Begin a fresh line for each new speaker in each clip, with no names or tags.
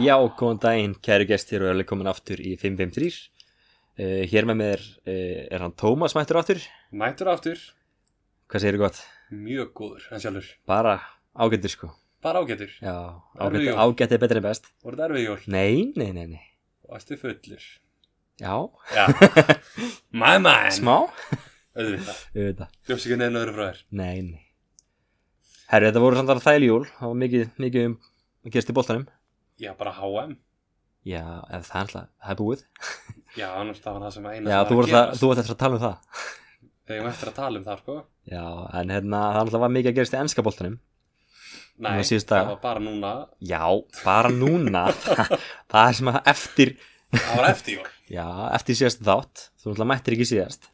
Já, góðan daginn, kæru gestir og erum komin aftur í 553 uh, Hér með mér uh, er hann Tómas mættur aftur
Mætur aftur,
Hvað segirðu gott?
mjög góður, hann sjálfur.
Bara ágættir sko
Bara ágætur.
Já,
Erfið
ágætt
jól.
ágætt er betur en best
Voru þetta erfið jól?
Nei, nei, nei, nei
Varstu fullur?
Já,
Já. my man.
smá
Öðvitað.
Auðvitað,
Jófst ekki neina öðru frá þér.
nei, nei Herru, þetta voru samt að þæli jól Það var mikið, mikið um að gerast í boltanum
Já, bara HM.
Já, ef það er alltaf, það er búið
Já, annars það var það sem eina
Já, þú varst að- þú varst eftir að tala um það
Þegar ég var eftir að tala um það, sko.
Já, en hérna, það alltaf var mikið að gerast í enska boltanum
Nei,
var síðustu
það
daga.
var bara núna.
Já, bara núna Það er sem að eftir
Það var eftir jól.
Já, eftir síðast þátt Þú náttúrulega mættir ekki síðast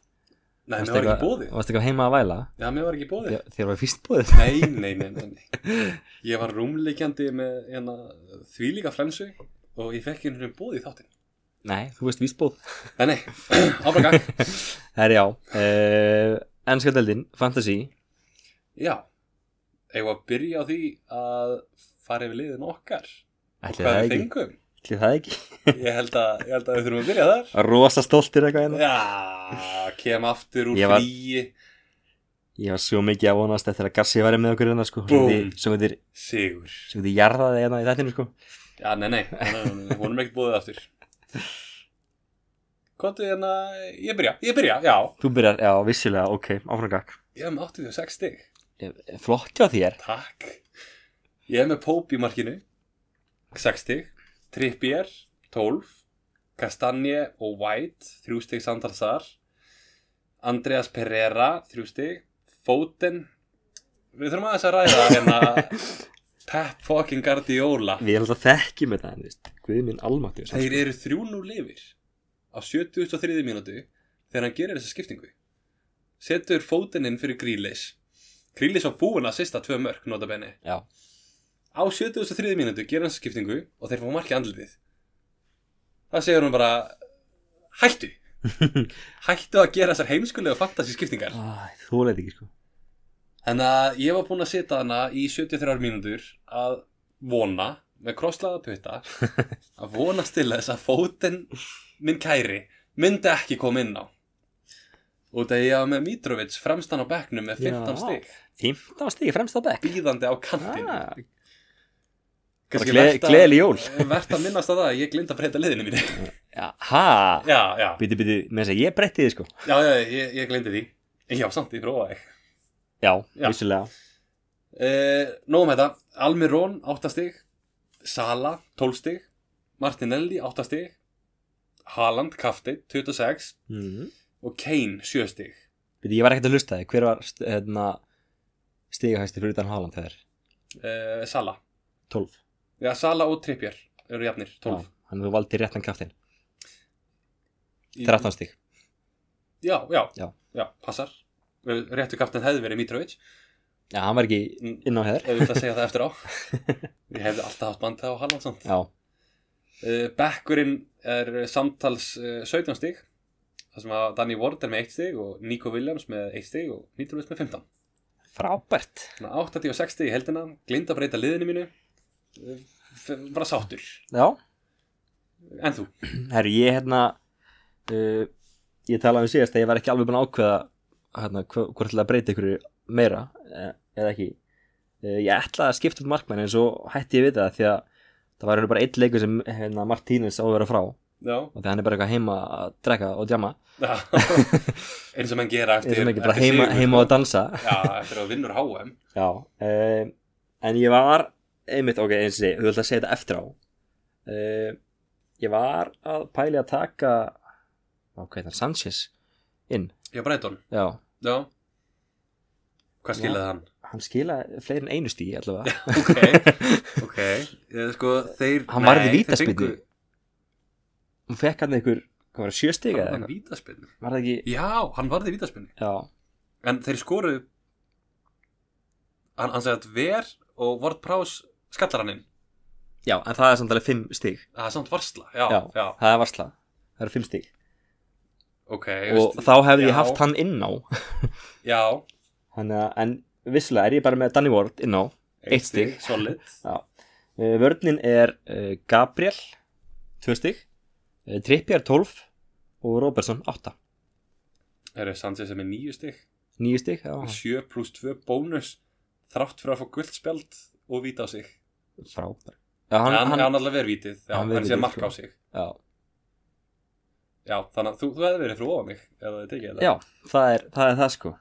Nei, mér var ekki bóðið.
Varst eitthvað heima að væla
Já, mér var ekki bóðið.
Þe- Þér var fyrst bóðið
Nei, nei, nei, nei, nei. Ég var rúmleikjandi með hérna, þvílíka flensu og ég fekk einhvern veginn bóð í þáttinn.
Nei, þú veist víst bóð
Nei, nei, áfram gang.
Herri já uh, Ennska deldin, fantasy
Já, eigum við að byrja á því að fara yfir liðin okkar og
Ætli
hvað
það
við
ekki
fengum.
Ætli það ekki
Ég held, að, ég held að við þurfum að byrja þar.
Rosa stoltir eitthvað hérna
Já, kem aftur úr
Ég var-
fríi,
Ég var svo mikið að vonast eftir að Gassi væri með okkur hérna sko
Búm.
Svo veitir,
sigur.
svo veitir jarðaði hérna í þættinu sko
Já, nei, nei, nei, nei, nei, honum er ekkert búið aftur. Hvað er hérna, ég byrja, ég byrja, já.
Þú byrjar, já, vissilega, ok, áfram gakk
Ég hef með 86 stig,
Flott hjá þér
takk. Ég hef með Pope í markinu, 6 stig, Trippier, 12, Kastanje og White, 3 stig samtals þar, Andreas Pereira, 3 stig, Foden, við þurfum aðeins að ræða hérna Pep fucking Guardiola.
Við erum alltaf þekkjum þetta, en þú veist Guð minn sko. almáttur
Þeir eru 3-0 lifir á 73. mínútu þegar hann gerir þessa skiptingu. Setur Foden inn fyrir Grealish. Grealish var búinn að sista tvö mörk, nota benni.
Já,
á 73. mínútu gera hans skiptingu og þeir fá marki andlitið það segir hún bara hættu hættu að gera þessar heimskulega fantasi skiptingar
Æ, þú leit ekki sko
en að ég var búinn að sita hana í 73 mínútur að vona með krosslaða putta að vonast til þess að fótinn minn kæri myndi ekki koma inn á og þegar ég var með Mitrovic fremstan á bekknum með 15
Já.
stig
15 stík fremst á bekk
býðandi á kantinu
Ah, Bara gle- gleðileg jól.
Vert að minnast að það, ég glind að breyta liðinu mínu
já, Ha,
Já, já,
bíti, bíti, með þess að ég breytti þið sko
já, já ég, ég glindi því Já, samt, ég prófaði
Já,
Já.
vissulega
uh, Nóum þetta, Almirón, 8 stig Sala, 12 stig Martinelli, 8 stig Haaland, Kafti, 26
mm.
Og Kane, 7 stig
Bíti, ég var ekkert að hlusta þig Hver var st- hérna, stigahæsti fyrir utan Haaland þegar?
uh, Sala
12
Já, Sala og Trippier eru jafnir, 12
Já, Þannig að þú valdi réttan kraftin
Í-
13 stík
Já, já, já,
Já.
passar Eh, Réttu kaftin hefði verið Mitrovic
Já, hann var ekki
Mm,
inn á heður
Ef við það segja það eftir á Ég hefði alltaf haft bandið á Haaland samt
Já,
Uh, Bekkurinn er uh, samtals uh, 17 stig þar sem að Danny Ward er með 1 stig og Nico Williams með 1 stig og Mitrovic með 15
frábært
Þannig að 86 stig í heldina, glind að breyta liðinu mínu uh, f- bara sáttur
Já,
En þú?
herru, ég hérna uh, Ég talaði um síðast að ég var ekki alveg búin að ákveða hérna, hv- hvort til að breyta ykkur meira eh, eða ekki Eh, ég ætlaði að skipta út markmenn en svo hætti ég við það því að það var í raun bara eitt leikur sem hérna, Martínez á að vera frá og
Já
því hann er bara eitthvað heima að drekka og djama
Eins og menn gera
eins
eftir
og ekki bara
eftir
heima,
sigur,
heima
sko.
og dansa
Já, eftir að vinnur HM
já um, en ég var einmitt, ok, eins og ég þú vilt að segja þetta eftir á um, ég var að pæli að taka ok, það er Sanchez inn,
Já, Brighton
já
Já Hvað
Já.
skilaði hann?
hann skilaði fleiri en einu stíi allavega
Ok, ok Eh, Sko, þeir
Hann varði
Nei, þeir
vítaspyrnu.
fengu-
hún fekk hann einhver, hvað var það, sjö stíga
Hann
eða
varði
eitthvað,
vítaspinnu
var það ekki
Já, hann varði vítaspinnu
já,
En þeir skoruðu hann, hann sagði að ver og Ward Prowse skallar hann inn
já, en það er samt alveg fimm stíg
Það er samt varsla, já, já,
Já. það er varslað, það eru fimm stíg
ok
og
veist-
þá hefði
já,
ég haft hann inn á
Já,
Hanna, en visslega er ég bara með Danny Ward inn á Eitt stig.
Solid
já. Eh, Uh, vörnin er uh, Gabriel 2 stig, uh, Trippier 12 og Robertson 8
Það eru Sanchez sem er nýju stygg
9 stig, já,
og 7 pluss 2 bónus þrátt fyrir að fá guldspjald og víta á sig
frábær Já, hann,
hann, hann,
hann,
hann alltaf verið vítið, já,
Hann
hann,
verið
hann sé að
vítið,
marka
sko.
á sig
já,
Já, þannig að þú, þú hefði verið frá ofan mig ef það er tekið þetta
já það, er, það er það sko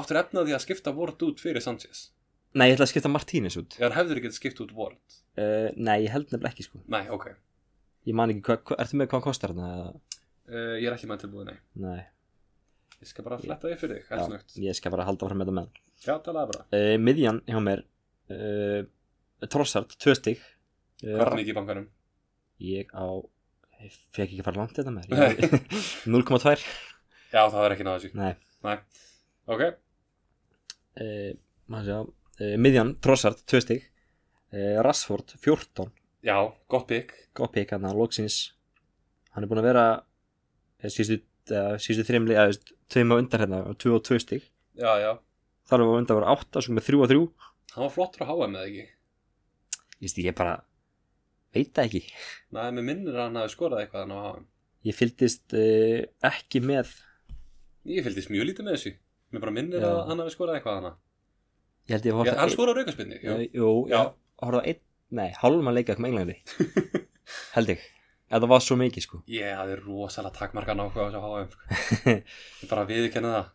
Áttur efnaði að skipta vort út fyrir Sanchez
Nei, ég ætla að skipta Martínez út
Já, hann hefður ekki skipt út vort
uh, Nei, ég held nefnilega ekki sko
Nei, ok,
Ég man ekki, hva, hva, ertu með hvað hann kostar hann? eða?
uh, ég er ekki með tilbúið, nei
Nei,
Ég skal bara fletta því fyrir þig,
Já.
helt snögt
ég skal bara halda fram með þetta með
Já, talaði bara,
uh, Midjan hjá mér uh, Trossard, 2 stig Eh,
hvað er Eh, mikið í bankanum?
Ég á Ég fekk ekki að fara langt í þetta með 0,2
Já, það er ekki náða þessu
Nei.
Nei, ok,
uh, sjá, uh, Midjan, Trossard, 2 stig uh, Rassford, 14
já, gott pick
Góð pík hann, hérna, loksins Hann er búin að vera eh, síðustu, uh, síðustu þrimli eða þú veist, tveim á undan hérna, 2 og 2 stig
Já, já,
þar var á undan voru 8, svo með 3 og 3
hann var flottur á HM eða ekki
Ég veist, ég bara veit það ekki
Nei, mér minnir að hann hafi skorað eitthvað hann á HM
Ég fylgdist uh, ekki með
Ég fylgdist mjög lítið með þessu Mér bara minnir
Já.
að hann hafi skorað eitthvað hana
Ég held ég að
Já,
horfa
Hann skoraði raukaspinni
Jú, jú
Já.
ég horfa einn, nei, hálfum að leika með Englandi Held ég En það var svo mikið sko
Ég hafði rosalega takmarkan áhuga á þessu HM sko. Ég bara viðurkenna það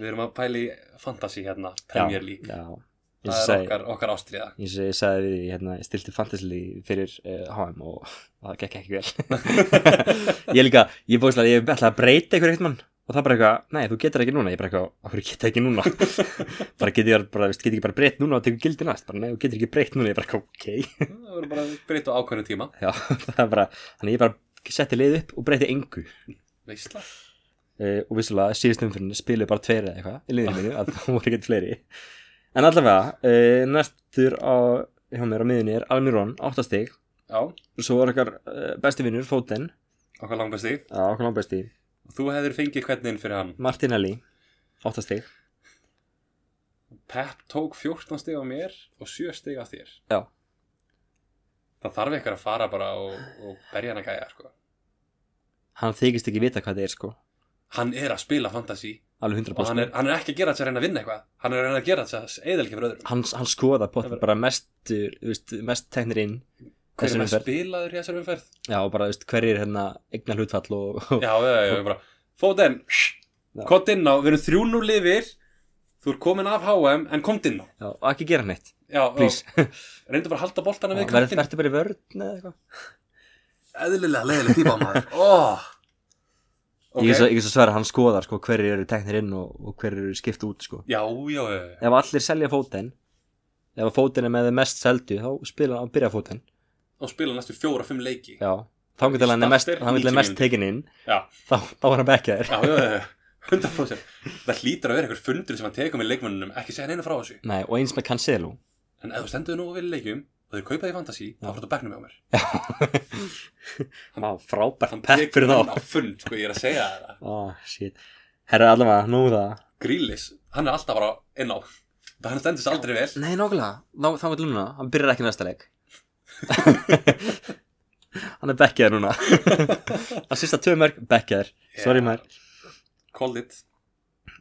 Við erum að pæla í fantasy hérna Premier League
Já, já.
Það
Ég
er
sagði,
okkar, okkar ástriða
eins og ég sagði við því, hérna, ég stilti fantasy fyrir uh, HM og það gekk ekki vel ég líka, ég bóðslega, ég ætla að breyta einhver eitt mann og það bara eitthvað, nei, þú getur ekki núna ég bara eitthvað, okkur geta ekki núna bara getur ég bara, veist, getur ekki bara breytt núna og tekur gildi næst, bara nei, þú getur ekki breytt núna ég bara eitthvað, ok,
Það voru bara breyta á ákveðnu tíma
já, það er bara þannig ég bara setti leið upp og breyti engu
Veistla
uh, og vissulega síðust umfyrinni spiluðu bara tveir eða eitthvað í liðinu mínu, að það voru ekkert fleiri en allavega, uh, næstur á, hjá mér á miðunni er Almirón, 8 stig
Já,
svo var okkar uh, besti vinnur, Fóten
okkar langast því
á okkur langbesti,
Þú hefðir fengið hvernig inn fyrir hann
Martinelli 8 stig,
Pep tók 14 stig á mér og 7 stig á þér
Já.
Það þarf eitthvað að fara bara og, og berja hann að gæja sko.
hann þykist ekki vita hvað það er sko,
Hann er að spila fantasy
alveg 100%
og hann er, hann er ekki að gera þetta að reyna að vinna eitthvað hann er að reyna að gera þetta að eða ekki fyrir öðrum
hann, hann skoða
Það
potið
var-
bara mestur, þú veist, mest teknir inn
hver er
þessari
að
umferð.
spilaður í þessari umferð
já, og bara, þú veist, hverjir hérna eignar hlutfall og, og
já, já, já, já, bara Foden,
Já.
kott inn á við erum þrjú nú lifir þú er komin af HM en komt inn á
já, og ekki gera neitt,
já, og
please
reyndu bara að halda boltana við
verður
kantinn
þetta bara í vörn eða eitthvað
eðlilega leiðilega típa maður oh.
okay. ég er svo sverið að hann skoðar sko, hverjir eru teknir inn og, og hverjir eru skipt út sko.
já, já, já, já.
ef allir selja fóten ef að fóten er með þeim mest seldu þá spila hann byrja fóten
og spila næstu fjóra, fimm leiki já,
já. þá getur hann er mest,
Starter,
hann er
90
mest tekin inn
já,
þá, þá er hann bekka þér
já, já, já. 100% það hlýtur að vera einhver fundur sem hann tekur með leikmannunum ekki segja neina frá þessu
Nei, og eins með Cancelo
En ef þú stendur nú vel í leikjum og þeir kaupa því fantasy, þá
Já.
fyrir þú bekknum hjá mér.
hann var frábært
Hann
pepp
tekur
fyrir
menn
þá
á fund, sko, ég er að segja þér það.
oh, shit. herra allavega, nú það
Grílis, hann er alltaf bara inn á. Það hann stendur sér aldrei vel.
nei, nákvæmlega, þá, þá getur núna hann byrjar ekki næsta leik hann er bekkaður núna hann sýsta tvö mörg bekkaður sorry maður
Called it.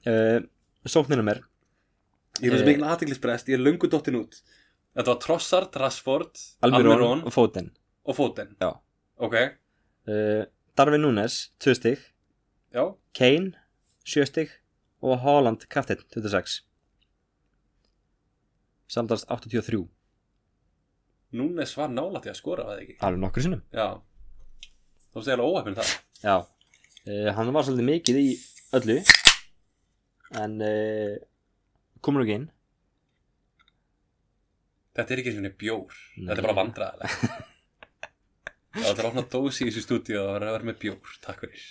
uh, sókninum er
Ég
Eh.
er þessi mikil aðteglisbrest, ég er löngu dottin út. Þetta var Trossard, Rashford,
Almirón,
Almirón
og Fóten
og Foden.
Já.
Ok,
uh, Darvin Núnes, 2 stygg
já.
Kane, 7 stygg og Haaland, kaftinn, 26 samtals 83
Núnes var nálægt í að skora, var það ekki?
alveg nokkur sinnum
Já. Þú veist eiginlega óhefn það.
já, uh, hann var svolítið mikið í öllu en uh, komur ekki inn
Þetta er ekki svona bjór.
Nei.
Þetta er bara vandræðilega. Já, þetta er að opna dósi í þessu stúdíu og það er að vera með bjór. Takk fyrir.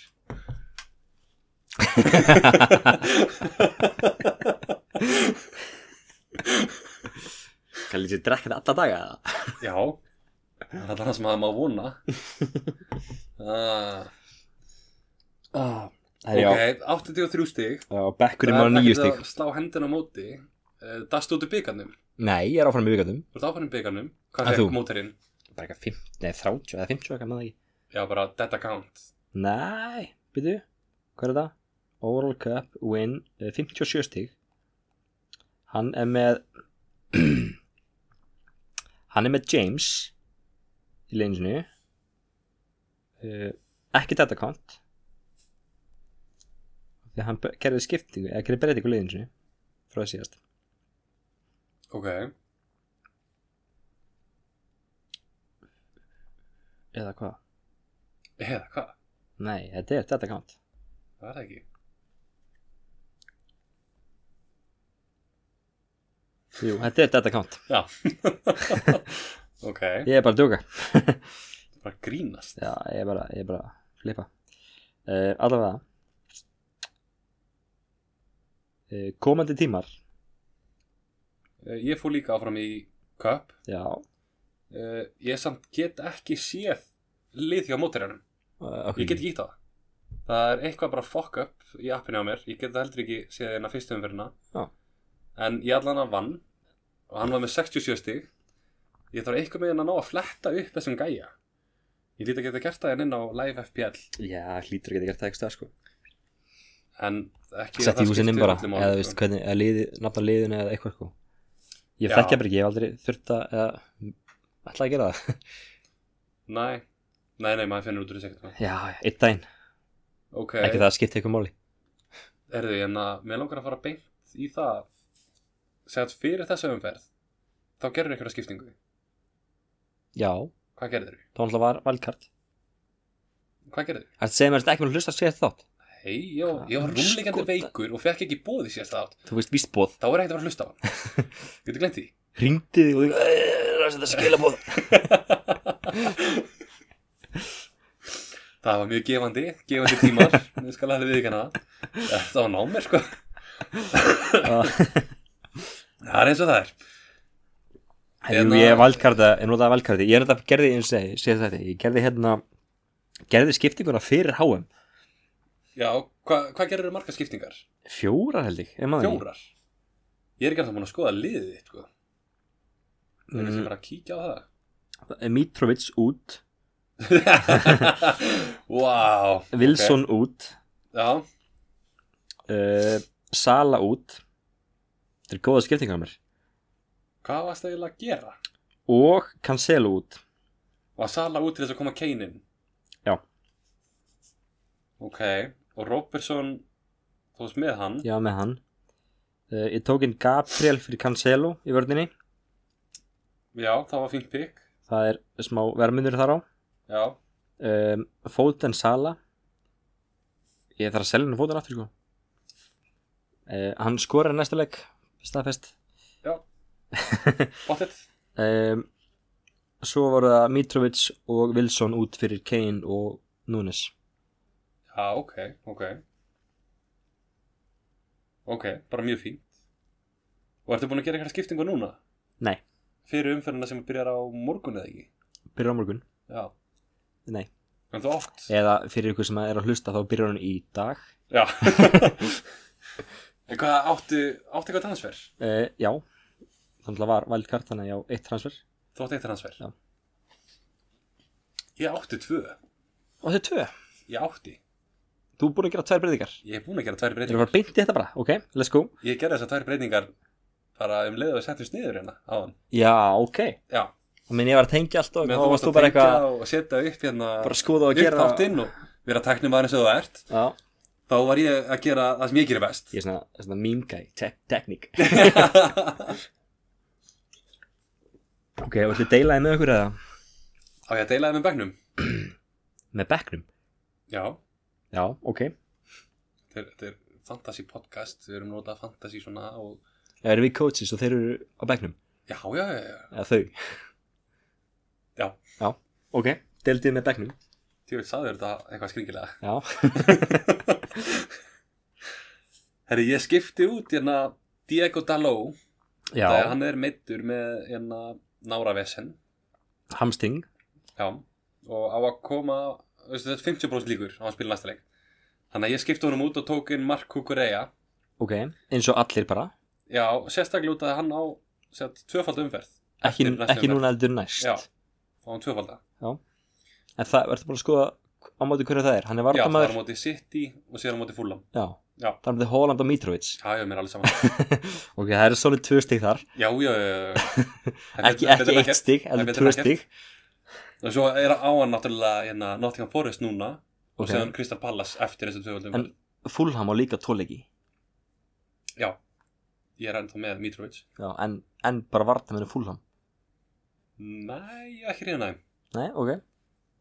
kannski sér drekka þetta alla daga eða?
Já, það er alltaf sem að maður vona. Ah,
ah,
ok,
okay. Ah,
83 stig.
já, bekkurinn var nýju stygg
að slá hendina á móti. uh, dast út í byggarnum
Nei, ég er áfram í vikandum
Þú ert áfærin byggarnum,
En
hvað
þú?
fekk mótorinn?
Bara eitthvað 50, nei 30 eða 50 eitthvað með það ekki
Já, bara dead account
Nei, byrju, hvað er það? Overall Cup win eh, 57 stig Hann er með Hann er með James í leinsinni uh, ekki þetta kont því að hann b- gerði skiptingu eða gerði breytingu leiðinsinni frá það síðast
Ok,
eða hvað?
eða hvað?
Nei, þetta er þetta kont
Það er það ekki
Jú, þetta er þetta kont
Ok,
Ég er bara að djóka
bara grínast
Já, ég er bara, ég er bara að flipa uh, Allavega uh, Komandi tímar
Eh, Ég fór líka áfram í Cup
Já,
uh, Ég samt get ekki séð lið hjá mótorinnum
uh,
Ég get ekki ítt á það Það er eitthvað bara fuck up í appinu á mér Ég get það heldur ekki séð hérna fyrstu umferðina
Já.
En ég allan að vann Og hann var með 67 stig Ég þarf eitthvað með hann að ná að fletta upp þessum gæja Ég lít að geta gert það en inn á live FPL
Já, hlýtur að geta gert það ekstra sko
En ekki
Sett í húsinn inn bara,
öllu máli,
eða þú
sko.
veist hvernig eða liði, nafna liðinu eða eitthvað sko Ég
Já.
þekki það bara ekki, ég hef aldrei þurft að eða, ætla að gera það
Nei, nei, nei, maður finnur út úr þessu ekkert
Já, já, einn daginn,
Ok,
ekki það skipti eitthvað máli
Erðu, en að mér langar að fara beint í það Segð fyrir þessa umferð Þá gerður einhverja skiptingu
Já,
Hvað gerður þau?
þá náttúrulega var valkart
Hvað gerður þau?
Það segir mér að þetta ekki mér að hlusta að segja þátt
Hei, ég var, ég var
Hvað?
rúmleikandi
Skota.
veikur og fekk ekki bóði sérst átt
Þú veist, vísbóð,
Þá er ekkert að fara að hlusta á hann Getur glemt því?
ringdi þig og þig Það er þetta skilabóð
Það var mjög gefandi, gefandi tímar Ég skal alveg viðkana það Það var námir sko
Ah.
Það er eins og það er
Jú,
Hérna-
ég valkarta, ég notaði valkarti Ég er þetta gerði eins og ég segi þetta Ég gerði hérna Gerði skiptinguna fyrir HM
Já, hva, hvað gerður þau marga skiptingar?
Fjórar held ég, ég maður
Fjórar Ég er ekki alltaf búin að skoða liðið þitt sko Það er kannski
mm, eh,
bara að kíkja á það
Mitrovic út,
wow,
Wilson út
Já,
uh, Sala út Þetta er góða skiptingar mér
hvað varst það eiginlega að gera?
Og Cancelo út
Var Sala út til þess að koma Kane inn?
Já.
Ok, og Robertson þú veist með hann
Já, með hann uh, Ég tók inn Gabriel fyrir Cancelo í vörninni
Já, það var fínt pick
Það er smá vermundur þar á
Já,
um, Fóten Sala ég þarf að selja henni Fóten aftur sko uh, hann skorar í næsta leik staðfest
bóttið
um, svo voru það Mitrovic og Wilson út fyrir Kane og Núnes
Já, ok, ok Ok, bara mjög fínt Og ertu búin að gera eitthvað skiptingu núna?
Nei.
Fyrir umferðina sem byrjar á morgun eða ekki?
byrjar á morgun
Já
Nei.
En þú átt
eða fyrir ykkur sem er að hlusta þá byrjar hann í dag
Já En hvað áttu, áttu eitthvað transfer?
uh, já þannig að var vældkart þannig að ég á eitt transfer
Þú áttu eitt transfer?
Já.
Ég átti tvö
og þau tvö,
Ég átti
þú er búin að gera tvær breytingar
Ég hef búin að gera tvær
þeir eru
breytingar
bara beint í þetta bara, ok, let's go
Ég gerði þessar tvær breytingar bara um leið og við settumst niður hérna á hann
já, ok,
Já
þá minn ég var að tengja allt og
Meðan
þá varst þú bara
tengja
eitthvað
og setja upp hérna
bara að skoða og
upp
gera
þáttinn og vera tæknum aðeins eða þú ert
já,
þá var ég að gera það sem ég gerir best
Ég er svona, svona meme guy, te teknik Ok, og þetta deilaði með okkur eða
Á ég að deila það með begnum
Með bekknum?
Já,
Já, ok
þetta er, þetta er fantasy podcast við erum notað fantasy svona og
Erum við coaches og þeir eru á bekknum?
Já, já, já, já
Eða þau?
Já.
Já, ok, deildið með bekknum
Því veit, sagður þetta eitthvað skringilega
Já,
Herri, ég skipti út hérna Diego Daló
já,
þegar hann er meittur með hérna náravesen
hamsting
Já og á að koma, veistu þetta er 50% líkur á að spila næsta leik Þannig að ég skipti honum út og tók inn Mark Kukureya
Ok, eins og allir bara
Já, sérstaklega út að hann á sett, tvöfald umferð
ekki,
Eftir næstu
ekki
umferð.
núna heldur næst
um Já. Fá hann tvöfalda
en það verður bara að skoða á móti hverju það er hann er
Já, það er á
vartamæður
móti City og síðan á móti Fulham
já,
Já.
það er móti Holland og Mitrovic
Það er mér alveg saman
ok, það eru svolítið tvö stig þar
Já, já, já, já, já. Það er
ekki,
betur-
ekki
betur
eitt
ekkert.
stig,
er
heldur
betur
tvö
en
stig
Og svo er á hann náttúrulega hérna, Nottingham Forest núna og
Ok.
síðan Crystal Palace eftir þessu tvöfaldum
En- Fulham á líka tólegi
Já, ég er ennþá með Mitrovic
já, en, en bara vartamæður Fulham
Nei, ég er ekki reyna næm
nei, ok,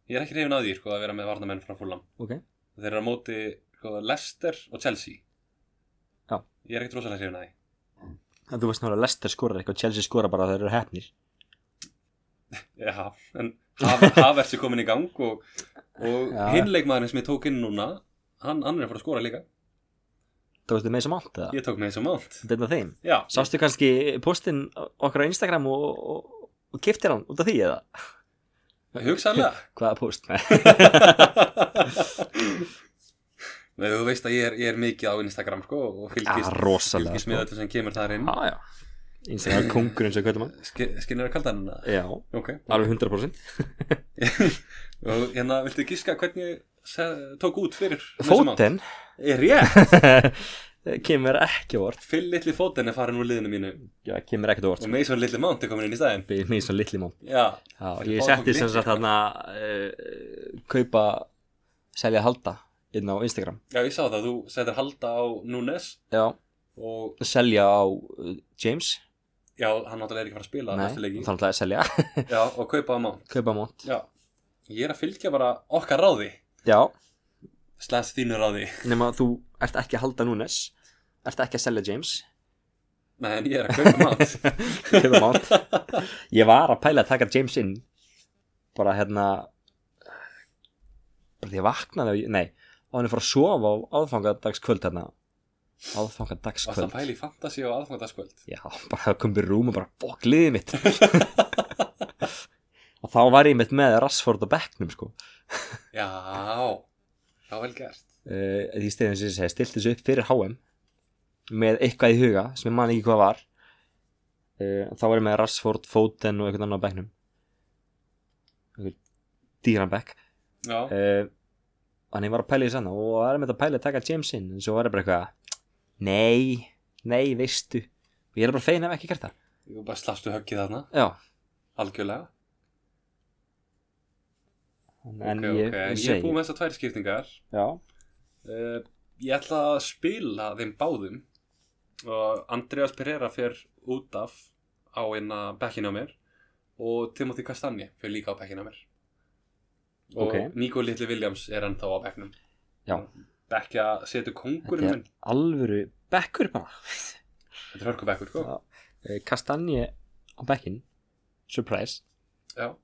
Ég er ekki reyfin að því sko, að vera með varnamenn frá Fulham
Ok.
Þeir eru á móti sko, Leicester og Chelsea
Já.
Ég er ekkert rosalega hrifin að því
en þú veist náttúrulega Leicester skorar eitthvað Chelsea skorar bara að þeir eru hefnir
Já, en Havers er komin í gang og, og
Já.
hinn leikmaðurinn sem ég tók inn núna hann, hann er að fara að skora líka
þú veist þið með þessum átt eða?
Ég tók með þessu mánt
þetta er þeim
Já,
Sástu kannski postin okkar á Instagram og, og, og kiftir hann út af því eða?
hugsaðlega
Hvaða post? Nei.
Nei, þú veist að ég er, ég er mikið á Instagram sko, og
Já,
fylgist,
rosalega
fylgist með
sko.
þetta sem kemur þar inn
Já, já Instagram kongur eins og hvernig mann
Ski- Skinnir að kalda hann
Já,
Ok,
alveg 100%
og hérna, viltu gíska hvernig ég se- tók út fyrir þessu mál?
Fóten
Er ég?
kemur ekki á orð
Fyll litli fóten er farin úr liðinu mínu
Já, kemur ekki á orð
og Mason litli Mount er komin inn í staðinn
Mér er svona litli mán
Já,
Já,
Fyrir
ég
báða
setti
fólki
sem
litli,
sagt
sko.
þarna uh, kaupa selja halda inn á Instagram
já ég sá það, þú setur halda á Núnes
Já,
og
selja á eh, James
já, hann náttúrulega er ekki að fara að spila
Nei,
næstu leiki
þannig að selja
Já, og kaupa á Mount
Kaupa mont
Já, ég er að fylgja bara okkar ráði
Já,
Slæðs þínu ráði
nema þú ert ekki að halda Núnes ert ekki að selja James
Nei, en ég er að kaupa Mount
Kaupa Mount. ég var að pæla að taka James inn bara hérna bara því að vaknaði og ég- nei, og hann er fór að sofa á aðfangadagskvöld hérna
Varst að
aðfangadagskvöld
pæla í fantasy og aðfangadagskvöld
já, bara það kom við rúm og bara bók liðið mitt og þá var ég mitt með Rassford og Becknum sko
Já, já vel gert
uh, því stefnum sem ég segi, stilt þessu upp fyrir HM með eitthvað í huga sem ég man ekki hvað var uh, þá var ég með Rashford, Foden og eitthvað annað á bekknum eitthvað dýran bekk
Já,
uh, en ég var að pæla í sann og það er með þetta að pæla að taka James inn en svo var ég bara eitthvað nei, nei, veistu og ég er bara fegin ef ekki gert það
ég bara slafstu höggið þarna,
já,
algjörlega
en,
En
en
ok,
ég,
ok, en
ég
ég er
segi
búið með þessar tvær skiptingar
já,
uh, Ég ætla að spila þeim báðum og Andreas Pereira fer út af á einna bekkinu á mér og Timothy Castagne fer líka á bekkinu á mér og
Ok.
Nico Little Williams er ennþá á bekknum
Já.
Bekkja setur kongurinn
Þetta er-
minn
alvöru bekkur bara
Þetta er hörku bekkur, sko
Já. Eh, Kastanje á bekkin surprise
Já.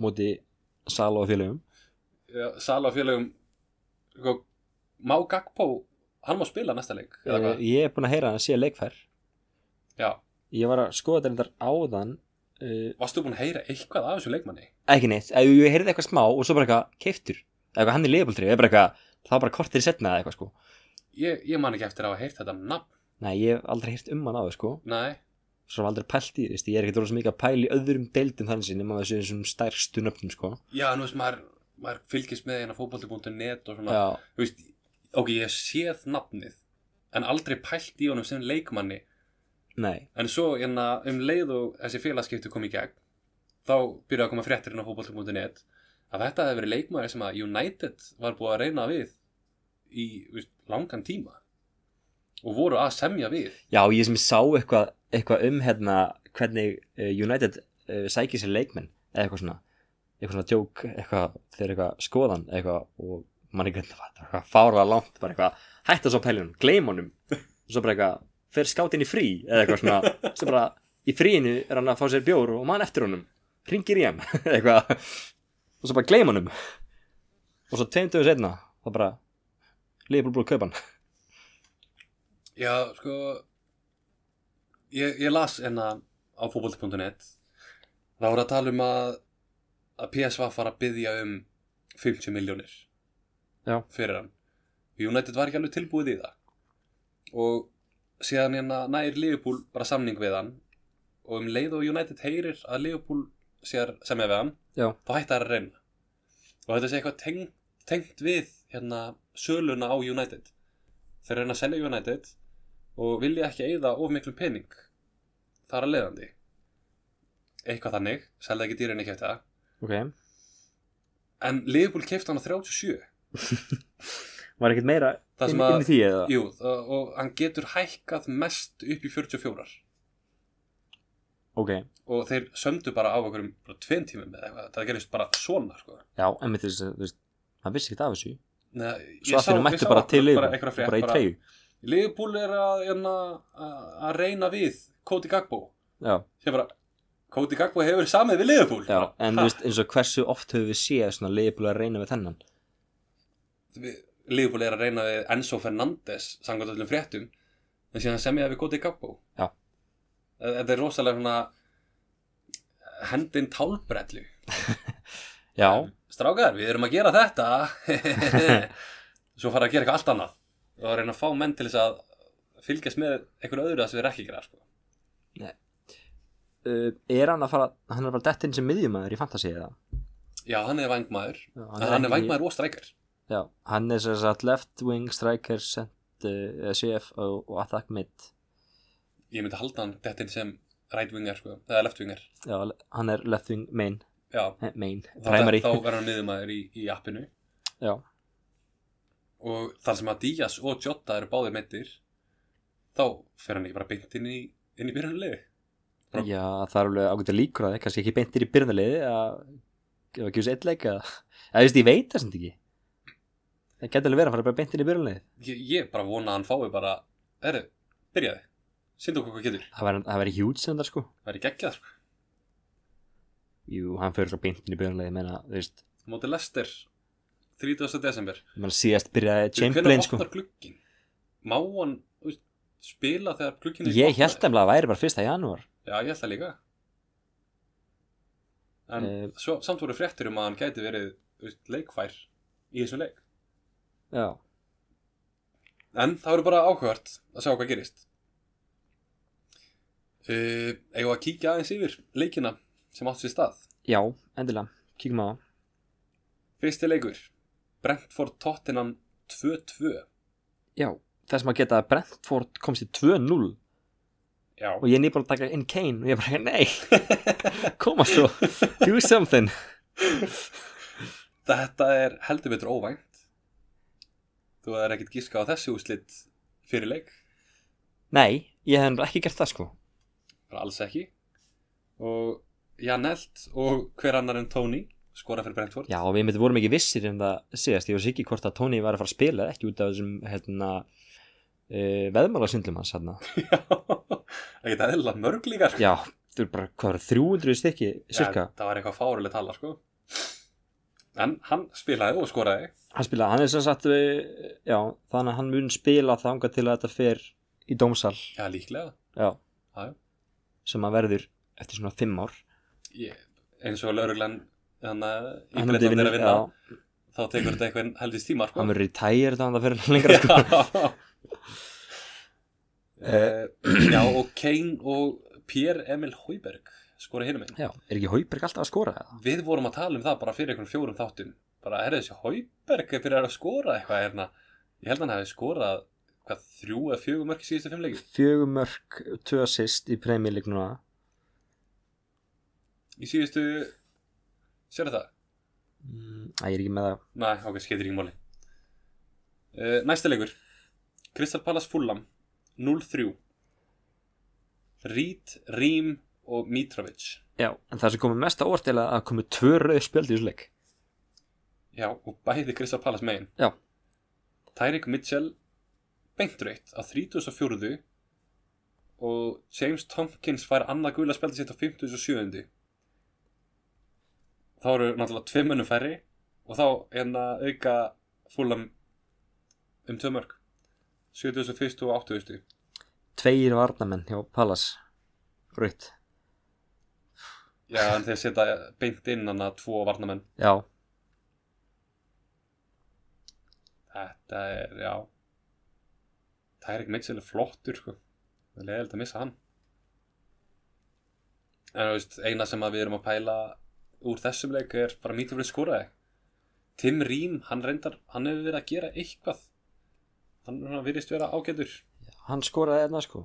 móti Sala og félögum
Já, Sala og félögum sko, Má Gagpo, hann má spila næsta leik eða
uh,
hvað?
ég er búin að heyra hann sé leikfær
Já,
ég var að skoða þetta reyndar áðan uh,
varstu búin að heyra eitthvað af þessum leikmanni?
ekki neitt, ef ég heyrði eitthvað smá og svo bara eitthvað keiftur eitthvað hann er liðbóltri, það er bara eitthvað það var bara kortir setna eða eitthvað sko
Ég, ég man ekki eftir að hafa heyrt þetta nafn
nei, ég hef aldrei heyrt um hann áður sko
Nei,
svo hef aldrei pælt í, veist, ég er ekkert rosa mikið að pæla í öðrum deildum þannig sinni, maður þessu þessum stærstu nöfnum sko
já, nú veist maður, maður fylgist með hérna fótbolti.net og svona
já,
Þú veist, ok, ég hef séð nafnið en aldrei pælt í honum sem leikmanni
nei,
en svo hérna um leið og þessi félagskipti kom í gegn þá byrjaði að koma fréttir inn á fótbolti.net að þetta hefði verið leikmanni sem að United var búið að reyna við í þú veist, langan tíma og voru að semja við
já, ég sem sá eitthvað eitthvað um hérna hvernig eh, United uh, sækir sér leikmenn eða eitthvað svona eitthvað svona djók, eitthvað, þeir eitthvað skoðan eitthvað og mann ekki hvernig það var þetta var eitthvað fárlega langt, bara eitthvað hætta svo pælunum, gleym honum og svo bara eitthvað, fer skátinn í frí eða eitthvað svona, sem bara í fríinu er hann að fá sér bjór og mann eftir honum ringir í hann, eitthvað og svo bara gleym honum og svo tveim dögur setna, þá bara Leifur búið að kaupa hann
Já, sko ég, ég las hérna á fótbolti.net þá voru að tala um að að PSV fara að byggja um 50 miljónir
Já.
fyrir hann United var ekki alveg tilbúið í það og síðan hérna nær Liverpool bara samning við hann og um leið og United heyrir að Liverpool sér sem er við hann
Já.
þá hættar að reyna og þetta sé eitthvað tengt, tengt við hérna söluna á United þeir reyna að selja United og vilja ekki eyða of miklu pening þar að leiðandi eitthvað þannig, selja ekki dýrin ekki eftir það
ok,
en Liverpool kefti hann á 37
var ekkert meira
það
inn,
sem að
inn í því eða
Jú, það- og hann getur hækkað mest upp í 44
ok,
og þeir sömdu bara á okkur um tveim tímum eða eitthvað, það gerist bara svona sko.
já, en mér þess að þú veist maður vissi ekkert af þessu
Nei,
svo að þeirra mættu bara til
bara,
yfir
einhverja frétt,
bara í treyju
Liverpool er að, hérna, að að reyna við Cody Gagbo
já,
sem bara, Cody Gagbo hefur samið við Liverpool
já, en þú
Ha,
veist eins og hversu oft höfum við séð svona leifbúlega að reyna við þennan
við- Liverpool er að reyna við Enzo Fernandes samkvæmt öllum fréttum en síðan semja við Cody Gagbo
Já.
Þe- þetta er rosalega svona hendin tálbrellu
já,
strákar, við erum að gera þetta svo fara að gera eitthvað allt annað og að reyna að fá menn til þess að fylgjast með einhverju öðru að sem við erum ekki að gera sko.
uh, er hann að fara hann er að fara dett inn sem miðjumæður í fantasy eða
já, hann er vangmaður,
Já,
hann, hann er
ekki-
vangmaður og streikar
já, hann er sem sagt left wing striker sent, uh, CF og, og attack mid
ég myndi halda hann þetta inn sem right winger, sko, eða left winger
já, le- hann er left wing main,
já,
eh, main
þá,
primary
þá verður hann miðumæður í, í appinu
já,
og þar sem að Díaz og Jota eru báðir meittir þá fer hann ekki bara beint inn í, inn í byrjunulegu Bara-
já, það er alveg ágætið líkur að það kannski ekki beintir í byrjunarliði að gefa ekki úr eitt leik eða eða, þú veist, ég veit það sem ekki það getur alveg verið að fara bara beintir í byrjunarliði
ég, ég bara vona að hann fái bara erðu, byrjaði, syndu okkur hvað getur
það væri- það væri huge sem það sko
það er ekki ekki það, sko,
jú, hann fyrir frá beintir í byrjunarliði menna, þú veist,
móti lester 30. desember
menna síðast byrjaði
Hvenær
Chamberlain sko
opnar glukkin? Má hann þú veist, spila þegar glukkin
ég held að það væri bara fyrsta janúar
Já, ég held það líka En
Eh.
svo, samt voru fréttur um að hann gæti verið þú veist, leikfær í þessu leik
já,
En það voru bara áhugart að sjá hvað gerist uh, Eigum við að kíkja aðeins yfir leikina sem átt sér stað
já, endilega, kíkum á það
Fyrsti leikur Brentford Tottenham 2-2
Já, þess maður geta að Brentford komst í 2-0
Já,
og ég er nýbúin að taka inn Kane og ég er bara, nei, koma svo do something
Þetta er heldur betur óvænt Þú er ekkert gíska á þessi úslit fyrir leik
Nei, ég hef nefnilega ekki gert það sko
bara alls ekki og Jan Elt og hver annar en Tony skora fyrir Brentford
Já, við myndum vorum ekki vissir en það síðast ég var sikið hvort að Tony var að fara að spila eða ekki út af þessum hérna, uh, veðmálasundlum hans hérna.
ekkert eðlilega mörg líka sko.
Já, þú eru bara, hvað var 300 stykki cirka,
það var eitthvað fárileg tala sko. en hann spilaði og skoraði
hann spilaði, hann er sem sagt uh, já, þannig að hann mun spila þangað til að þetta fer í dómsal
já líklega
já,
Já, já.
sem að verður eftir svona 5 ár
ég, eins og lauruglan þannig að
Hann myndi
íblendan er að vinna
já.
þá tekur þetta eitthvað heldist tíma sko.
hann verður retired þannig að fyrir lengra sko.
Eh, Já, og Kane og Pierre-Emil Hauberg skora hinum einn
já, er ekki Hauberg alltaf að skora eða?
Við vorum að tala um það bara fyrir einhvern fjórum þáttum bara, er þessi Hauberg að byrja að skora eitthvað hérna Ég held að hann hefði skorað hvað, þrjú eða fjögur mörki síðustu fimm leiki
fjögur mörg, tvö assist í premjörleik núna
Í síðustu, sérðu það?
mm, að ég er ekki með það
Nei, ok, skeitir ekki máli uh, Næsta leikur Crystal Palace Fulham 0-3 Reed, Rím og Mitrovic
já, en það sem komið mest á orð er að það komið tvö rauð spjöld í þessu leik
Já, og bæði Crystal Palace megin
Já.
Tyrick Mitchell beintröytt á 34 og James Tompkins fær annað gula spjaldi sitt á 57 þá eru náttúrulega tvei mönnum færri og þá en að auka fúlam um tvö mörg 71. og 80.
tveir varnamenn hjá Pallas rauð,
Já, en þeir setja beint inn hann að tvo varnamenn
já,
Þetta er, já Tyrick Mitchell er flottur, sko Það er leiðilegt að missa hann En þú veist, eina sem að við erum að pæla úr þessum leik er bara mítið fyrir skoraði Tim Rím, hann reyndar, hann hefur verið að gera eitthvað Hann hann virðist vera ágætur
Hann skoraði þarna sko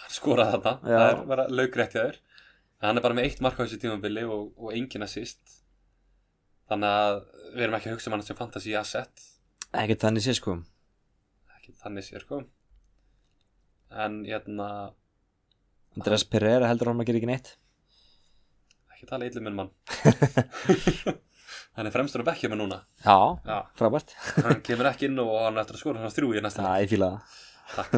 Hann skoraði þarna,
Já.
það er bara laugrætt hjá þér En Hann er bara með eitt mark á þessu tímabili og, og engin assist Þannig að við erum ekki að hugsa um hann sem fantasy asset
Ekkert þannig sé sko
Ekki þannig sér sko En hérna,
Andrés Pereira heldur hann að gera ekki neitt
ekki tala illum um mann Hann er fremstur að bekkja mig núna
Já,
Já,
frábært
hann kemur ekki inn og hann er eftir að skora hann þrjú í næsta
Það er fílað
Takk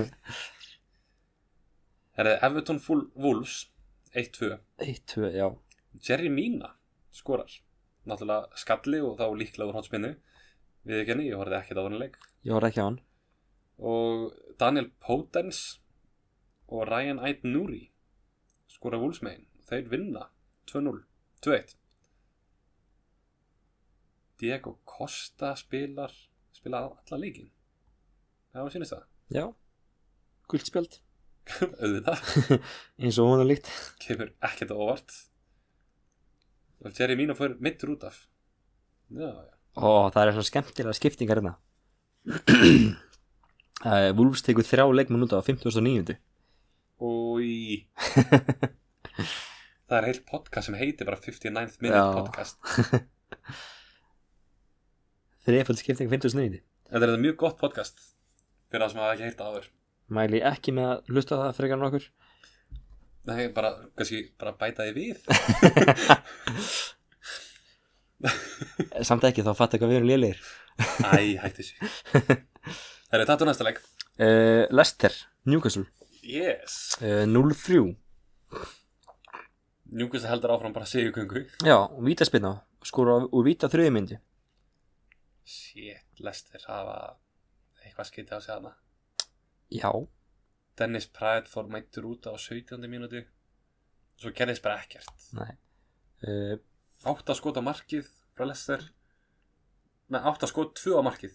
Herri, Everton Full Wolves 1-2
Eitt, tvö, já
Jerry Mina skorar Náttúrulega skalli og þá líklega úr hotspinnu Við ekki henni, ég horfði ekkert á hann leik
Ég horfði ekki á hann
Og Daniel Potens og Ryan Ait Nuri skora Wolves megin Þeir vinna 2-0 2-1 Diego Costa spilar spilar alla leikin Það var sýnist það
Já Gult spjöld
auðvitað,
Eins og hún er líkt
kemur ekkert á óvart og Jerry Mina fór mittur út af já, já,
Ó, það er svo skemmtilega skiptingar hérna uh, Wolves tekur þrjá leikmenn út á 59.
og í það er heilt podcast sem heitir bara 59th minute
Já.
podcast
Þrefald skipting 59.
en það er þetta mjög gott podcast fyrir það sem hafa ekki heyrt það áður
Mæli ekki með að hlusta á það frekar en okkur
Nei, bara, kannski, bara bæta því við
Samt ekki, þá fatt ekki að við erum lélegir
Æ, hætti þessu Það er þetta næsta leik
uh, Lester, Newcastle
Yes
uh, 0-3
Njúkvist heldur áfram bara sigurköngu
Já, vítaspinna Skora úr víta þriði myndi
Shit, lestir hafa eitthvað skytið á sig hana
Já,
Dennis Pratt fór mættur út á 17. mínúti svo gerðist bara ekkert
uh,
átt að skota markið frá Lester nei, átt að skota 2 á markið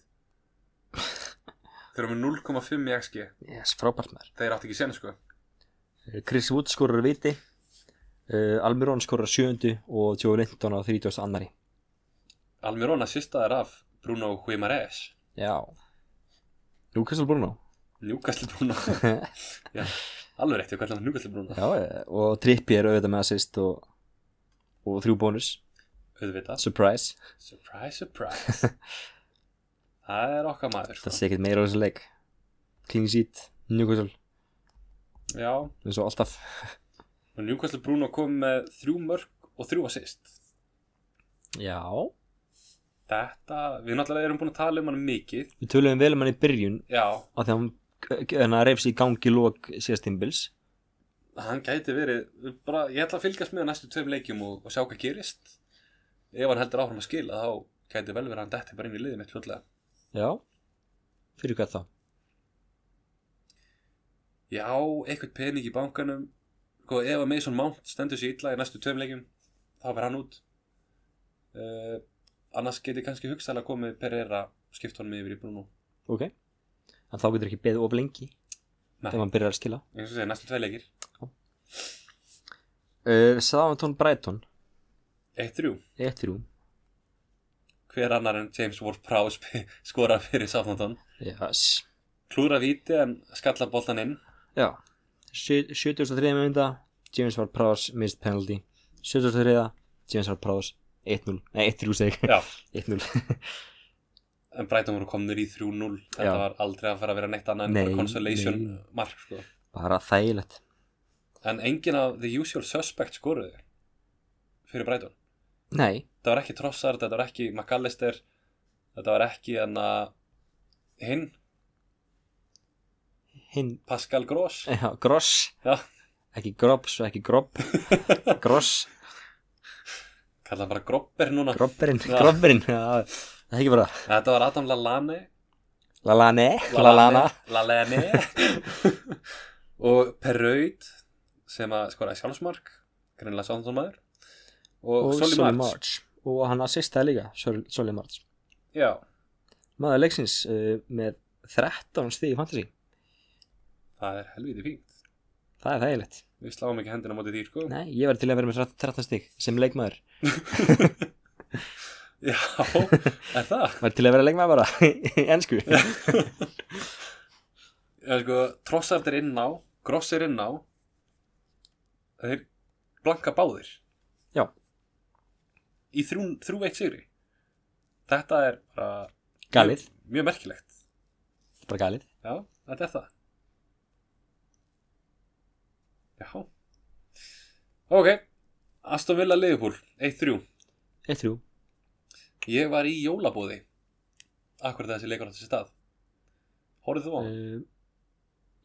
þeir eru með 0,5 í XG
yes, frábært maður
þeir átt ekki sen sko
Eh, Chris Wood skorar viti uh, Almiron skorar sjöundu og Joe Linton á 32. annari
Almirona sista er af Bruno Guimaraes
Já Newcastle Bruno
Newcastle Bruno
Já,
Já, alveg rétti hvernig hann Newcastle Bruno
eh, og Trippi er auðvitað með assist og, og þrjú bónus
auðvitað
Surprise,
surprise surprise það er okkar maður
það
sko.
sé ekkert meira á þessu leik Clean sheet, Newcastle
já og
eins og alltaf
Newcastle Bruno kom með 3 mörg og 3 assist
Já
Þetta, við náttúrulega erum búin að tala um hann mikið
Við töluðum vel um hann í byrjun
Já,
af því að hann, hann reyfs í gangi lók síðast tímbils
hann gæti verið bara, Ég ætla að fylgjast með á næstu tveim leikjum og, og sjá hvað gerist Ef hann heldur áfram að skila þá gæti vel verið að hann detti bara inn í liðið mitt fljótlega
Já Fyrir hvað þá?
Ég á eitthvað pening í bankanum Sko, ef að Mason Mount stendur sér illa í næstu tveim leikjum þá verð hann út uh, Annars geti kannski hugsaðlega komið Pereira skipt honum yfir í Bruno
Ok En þá getur ekki beðið of lengi
Nei.
Ef hann byrjar að skila
Eins og segja, næstu tvei leikir
uh, Sáðantón Brighton
1-3
1-3
Hver annar en James Ward-Prowse skora fyrir Southampton
Yes
klúra víti en skalla boltan inn
Já 73. mynda James var Prowse missed penalty 73. James var Prowse 1-0 Nei, 1-3 seg
Já.
1-0
en Brighton voru komnir í 3-0 þetta
Já.
var aldrei að fara að vera neitt annað en
Nei,
bara consolation
nei.
mark sko.
Bara þægilegt
en engin af the usual suspect skoruði fyrir Brighton
Nei
þetta var ekki Trossard, þetta var ekki McAllister þetta var ekki hann hinn,
Hinn
Pascal Gross
Já, Gross
Já.
Ekki Grobs, ekki Grob Gross
kalla hann bara Gropper núna
Grobberinn
Já.
Grobberinn Já Það er ekki bara
þetta var Adam Lallane
Lalane Lalana
Lallane og Perraud sem að skoraði sjálfsmark greinlega Southampton maður og, og Solly March
March Og hann assistaði líka Sol- Solly March eh,
Já,
Maður leiksins uh, með 13 stig í fantasy
það er helviti fínt
það er þægilegt
við sláum ekki hendina á móti því sko
Nei, ég var til að vera með 13 stig sem leikmaður
já, er það
var til að vera leikmaður bara í ennsku
já, sko, trossart er inn á gross er inn á þeir blanka báðir
Já.
í þrjú, þrjú eitt sigri þetta er bara
galið,
mjög, mjög merkilegt
bara galið
já, þetta er það já ok Aston Villa Leifupúl 1-3
eitt þrjú,
Ég var í jólabóði Akkur þessi leikur átti sér stað Hóruð þú á? hann?
uh,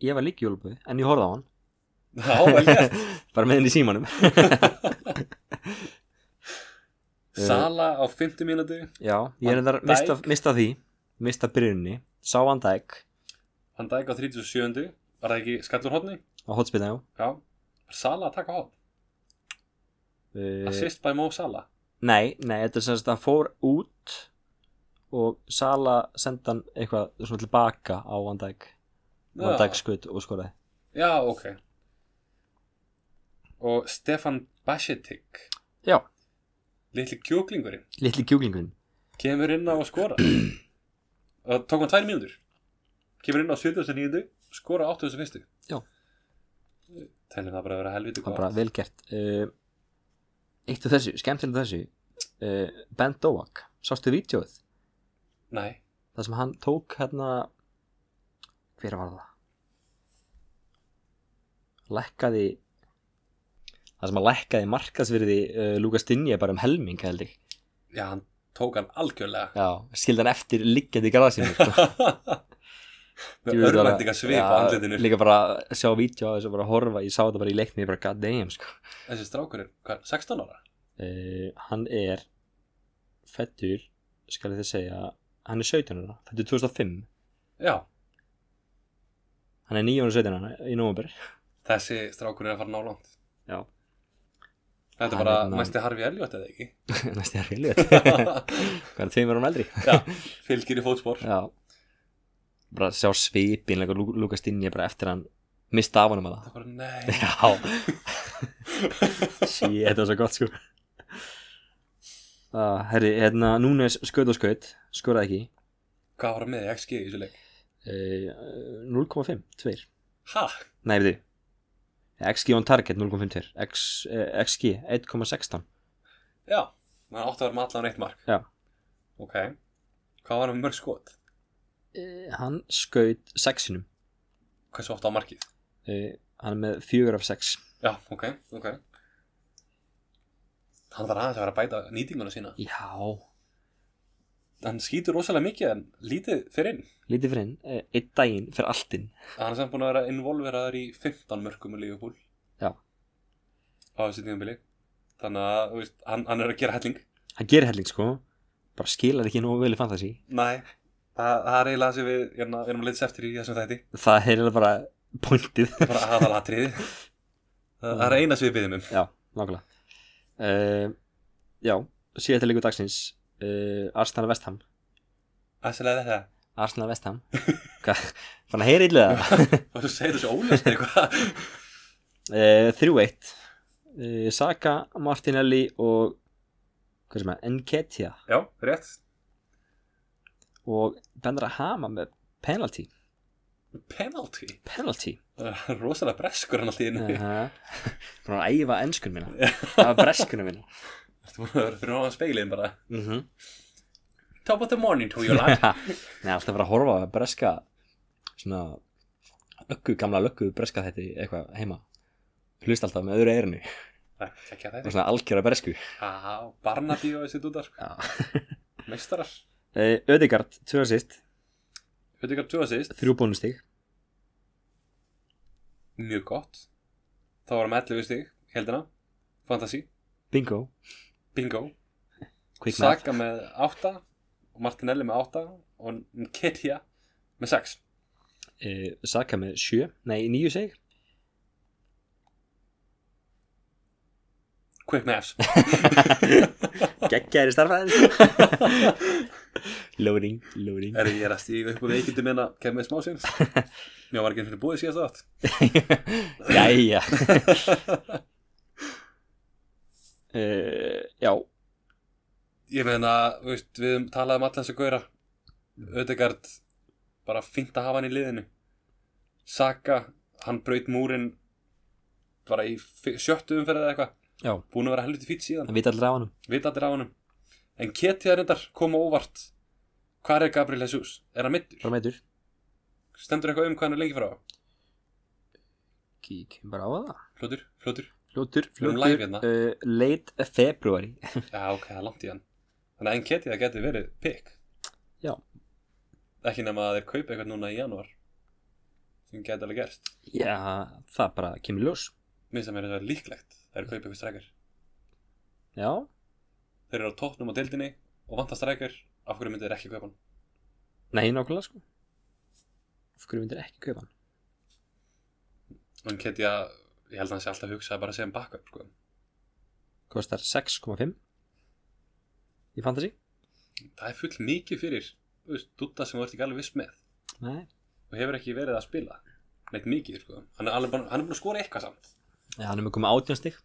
ég var líka jóluböði en ég horfði á hann,
Já, vel gert
bara með henni í símanum Eh.
Sala á 50 mínútu
já, ég er
Van
endar
Dijk.
mista, mista því mista byrjunni, sá hann dæk
Hann dæk á 37 Var það ekki skallur hodni?
á hotspilna, já
Já Sala að taka hodn
uh,
Assist by Mo Sala
nei, nei, þetta er sem sagt að hann fór út og Sala sendi hann eitthvað svona tilbaka á Van Dijk Van Dijk
Já,
skutt og skoraði
já ok Og Stefan Bashetik
já,
Litli kjúklingurinn
litli kjúklingurinn
Kemur inn á að skora Og tók hann tvær mínútur Kemur inn á 79 Skora á 81
Já.
Teljum það bara að vera
það
helviti
er
gott.
bara vel gert uh, eitt af þessu, skemmtilegt af þessu uh, Ben Dowak sástu vídeoið,
Nei,
það sem hann tók hérna hver var það lekkaði það sem hann lekkaði markasvirði uh, Lucas Dinje bara um helming held ég,
já, hann tók hann algjörlega
já, skildi hann eftir liggjandi í garðasinu sko.
með örvæntinga svip á andlitinu
líka bara að sjá vídeo á þessu bara horfa, ég sá þetta bara í leikni ég bara god damn sko
þessi strákur er, hvað, 16 ára?
uh, hann er fættur, skal ég þið segja hann er 17 ára, fættur 2005
Já,
hann er 9 ára 17 ára í november
þessi strákur er að fara nálangt
já, Hann
Þetta er bara
er ná-
næsti Harfi Elliot eða ekki
næst ég að hljóðið hvað er tveim árum eldri
Já, fylgir í fótspor
já bara sjá svipin, leika Lukas Dinja bara eftir hann mista af honum að það
Það bara, nei
já sí, þetta var svo gott sko uh, herri, hérna Núnes skaut og skaut, skoraði ekki
Hvað var hann með í XG í þessu leik?
uh, 0,5, 2
Ha?
Nei, við XG on target 0.52 X, eh, XG 1.16
Já, hann átti að vera með allan eitt mark
Já.
Ok, hvað var hann með mörg skot?
Eh, Hann skaut 6-inum
Hversu oft á markið?
Hann er með 4 af 6
Já, ok, ok Hann þarf aðeins að vera að bæta nýtinguna sína
Já,
Hann skýtur rosalega mikið en lítið fyrir inn
lítið fyrir inn eh, Einn daginn fyrir alltinn
Hann er samt búin að vera involveraður í 15 mörgum í Liverpool
Já.
Á þessi tíðanbili Þannig að þú veist, hann, hann er að gera helling
Hann gerir helling sko Bara skilar ekki nógu vel í fantasy
Nei Það, það er eiginlega það sem við hérna, við erum að leita eftir í þessum þætti
Það er eiginlega bara pointið
Það er bara aðalatriði það, það er eina sem við byggjum um
Já, nákvæmlega uh, Já, síðan til leikur dagsins uh, Arsenal Vestham
Æsilega þetta
Arsenal Vestham Hvað, fann að heyra illega það?
Og þú segir þessu ólöst eitthvað
Eh, 3-1 uh, Saka, Martinelli og hvað sem er, Enketia
Já, rétt
og Bendra Hama með penalty
Penalty
penalty
Það er Rosalega breskur hann alltaf inn
uh -huh. búin að æfa enskun mína það var breskunum mína
Þetta búin að vera fyrir náðan speilin bara
mm -hmm.
Top of the morning to you lad
Nei, alltaf bara að horfa að breska svona löggu, gamla löggu breska þetta eitthvað heima hlust alltaf með öðru eirinu
Það ekki að
og
þetta
svona algjöra bresku
Já, Barnaby og þessi dúdar Meistarar
uh, Ödegard, 2 assist,
Veitu hvað tjóða sýst?
3 bónustig
Mjög gott Þá varum 11 stig, heldina Fantasy,
bingo,
bingo
quick math
Saka með 8 og Martinelli með 8 og Nketja með 6
uh, Saka með 7, nei 9 seg
Quick maths
geggjæri starfæðin loading, loading
Er ég er að stíga upp á veikindum en að kemja smá séns Mér var ekki einhvern veginn búið síðast átt
jæja uh, já,
Ég meina, þú veist, við höfum talað um allan sem gauðra Ödegard bara fínt að hafa hann í liðinu Saka, hann braut múrin bara í fi- sjöttu umferð eða eitthvað
já,
Búin að vera helviti fýtt síðan,
það vita allir á hann
vita allir á honum En Ketja reyndar koma óvart Hvar er Gabriel Jesus? Er hann mittur?
bara meitur,
Stendur eitthvað um hvað hann er lengi frá?
kíkjum bara á það
Fljótur, fljótur
fljótur,
Við erum live
fljótur,
hérna.
uh, late februari
Já, ok, það er langt í hann Þannig að enn keti það geti verið pikk
Já.
Ekki nema að þeir kaupa eitthvað núna í janúar sem geti alveg gerst
já, það bara kemur í ljós
Mér sem er þetta líklegt þeir kaupa eitthvað strækjar
já,
Þeir eru á toppnum á deildinni og vantar strækjar af hverju myndir þeir ekki kaupa hann
nei, nákvæmlega sko af hverju myndir ekki kaupa hann
Enn keti að, ég held að hann sé alltaf að hugsa bara sem backup sko.
kostar 6,5 í fantasy
Það er full mikið fyrir þú veist, dutta sem þú ert ekki alveg viss með
nei,
og hefur ekki verið að spila neitt mikið sko. hann, er alveg bara, hann er búin að skora eitthvað samt
ja, hann er með komið átjónstig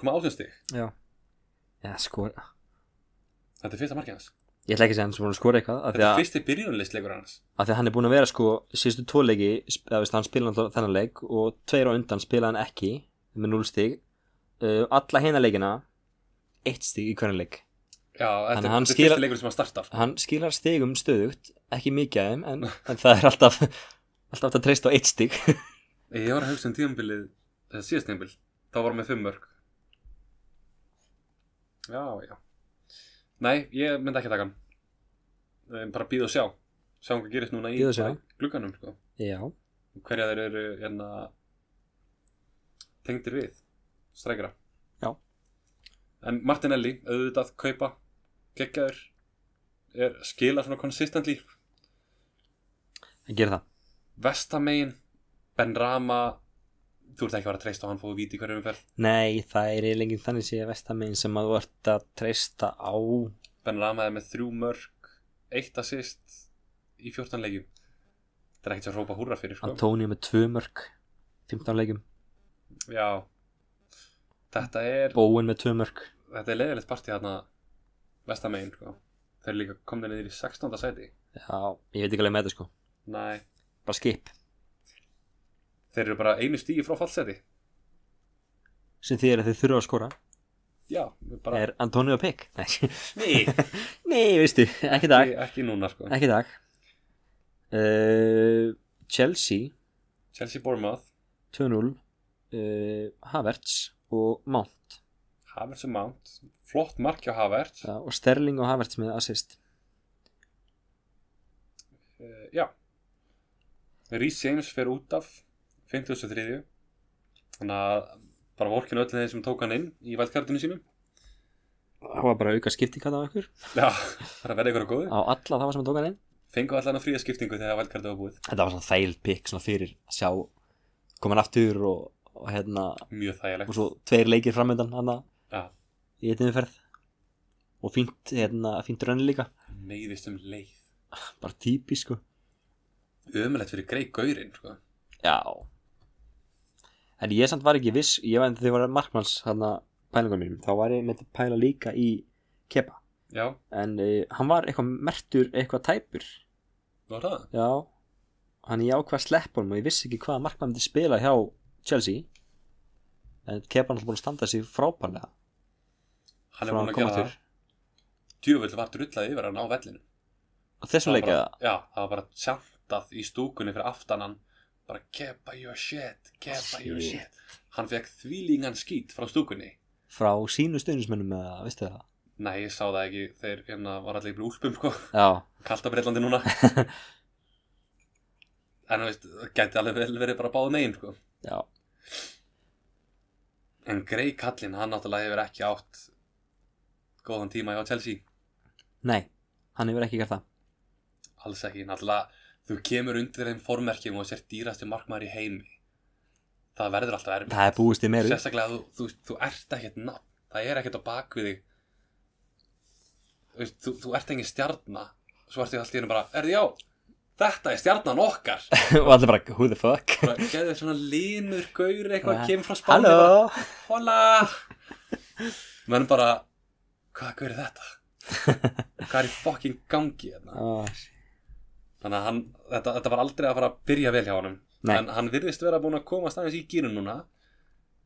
koma átjónstig,
já, já, sko, skora
þetta er fyrsta markið hans
ég ætla ekki að segja hann sem búin að skora eitthvað af því
þetta
að-
er fyrsti byrjunlistleikur hans
af því að hann er búin að vera sko síðustu tvoleiki, eða veist hann spila þennan leik og tveir á undan spila hann ekki með 0 stig uh, alla hina leikina 1 stig í hvernig leik
Já, þetta
Þannig að
er
hann
þetta er
skila-
fyrsti leikur sem hann startar
hann skilar stigum stöðugt ekki mikið af þeim en, en það er alltaf alltaf að treysta á 1 stig
Ég var að hugsa um tíðanbilið, þetta síðast tíðanbil Þá var hann með fimm mörg Já, já Nei, ég myndi ekki að taka hann Eh, Bara býð og sjá Sjáum hvað gerist núna í
Bíða og sjá.
í glugganum sko.
já,
Hverja þeir eru hérna Tengdir við Strækjara
Já.
En Martinelli, auðvitað, kaupa Gekkjaður er, Skilar svona consistently
hann gerir það
Vestamegin Ben Rama Þú ert ekki að vera að treysta á hann fóðu víti í hverju umferð
nei, það er eiginlega þannig sé að vestamein sem að þú ert að treysta á
Ben Rama er með þrjú mörg Eitt assist Í 14 leikjum Þetta er ekkert sem hrópa húra fyrir sko
Antonio með 2 mörg 15 leikum,
Já Þetta er
Bowen með 2 mörg
Þetta er leiðilegt partí hérna Vestamegin sko Þeir eru líka komnir niður í 16. sæti
já, ég veit ekki alveg með þetta sko
Nei
bara skip,
Þeir eru bara einu stígi frá fallseti
sem því er að þið þurfa að skora
Já bara...
Er Antonio Pick? Nei,
Nei
Nei veistu, ekki í dag
ekki, ekki núna sko
Ekki í dag uh, Chelsea
Chelsea Bournemouth
2-0 uh, Havertz og Mount
Havertz og Mount Flott markja Havertz
Já, og Sterling og Havertz með assist
uh, já Rhys James fer út af 53 þannig að bara vorkinu öll þeir sem tók hann inn í vældkartinu sínu
Það var bara auka skiptingat á ykkur
já, það er að vera ykkur að góðu
Á alla það var sem að tóka hann inn
fengu allan að fría skiptingu þegar vældkartu var búið
Þetta var svona þæl pick svona fyrir að sjá komin aftur og, og hérna
mjög
og
þægilegt
svo tveir leikir framöndan hana
já,
í þetta umferð og fínt, hérna, fínt rönni líka
meiðist um leið
bara típisk sko
ömulegt fyrir greið gaurinn sko.
Já En ég samt var ekki viss Ég var en þegar var markmanns þarna pælingum mínum Þá var ég með að pæla líka í Kepa
já,
En uh, hann var eitthvað mertur, eitthvað tæpur
var það
Já Hann ég ákvað að sleppa honum og ég vissi ekki hvaða markmann myndi spila hjá Chelsea En Kepa hann búin að standa sig frábærlega
hann er
frá
búin að
koma
gera
aftur.
það djöfull var drullað yfir hann á vellinu
Á þessum
Það var
leikja
bara- já, það var bara sjantað í stúkunni fyrir aftanan bara kepa your shit kepa your
Shit.
shit hann fekk þvílingan skít frá stúkunni
Frá sínu stuðnismönnum eða, veistu það?
nei, ég sá það ekki þeir hérna var allir í úlpum sko
Já,
kallt á Breitlandi núna en þú veist, það gæti alveg vel verið bara báð megin sko
já,
en Grey Kallin, hann náttúrulega hefur ekki átt góðan tíma hjá Chelsea
nei Hann hefur ekki gert það
alls ekki, náttúrulega þú kemur undir þeim formerkjum og sér dýrasti markmaður í heimi það verður alltaf erfið
Það er búist í meiru
Sérstaklega þú, þú, þú ert ekkert nafn Það er ekkert á bakvið þig þú veist, þú, þú ert engin stjarnar svo ertu alltaf í hennu bara, er já þetta er stjarnan okkar
og allir bara, who the fuck
bara geðið svona línur, gaur eitthvað
Bara,
kemur frá Spáni bara,
Halló
hola menn bara hvað gaur er þetta hvað er í fucking gangi hérna?
oh,
þannig að hann, þetta, þetta var aldrei að fara að byrja vel hjá honum
Nei.
en hann virðist vera búin að komast aðeins í gýrun núna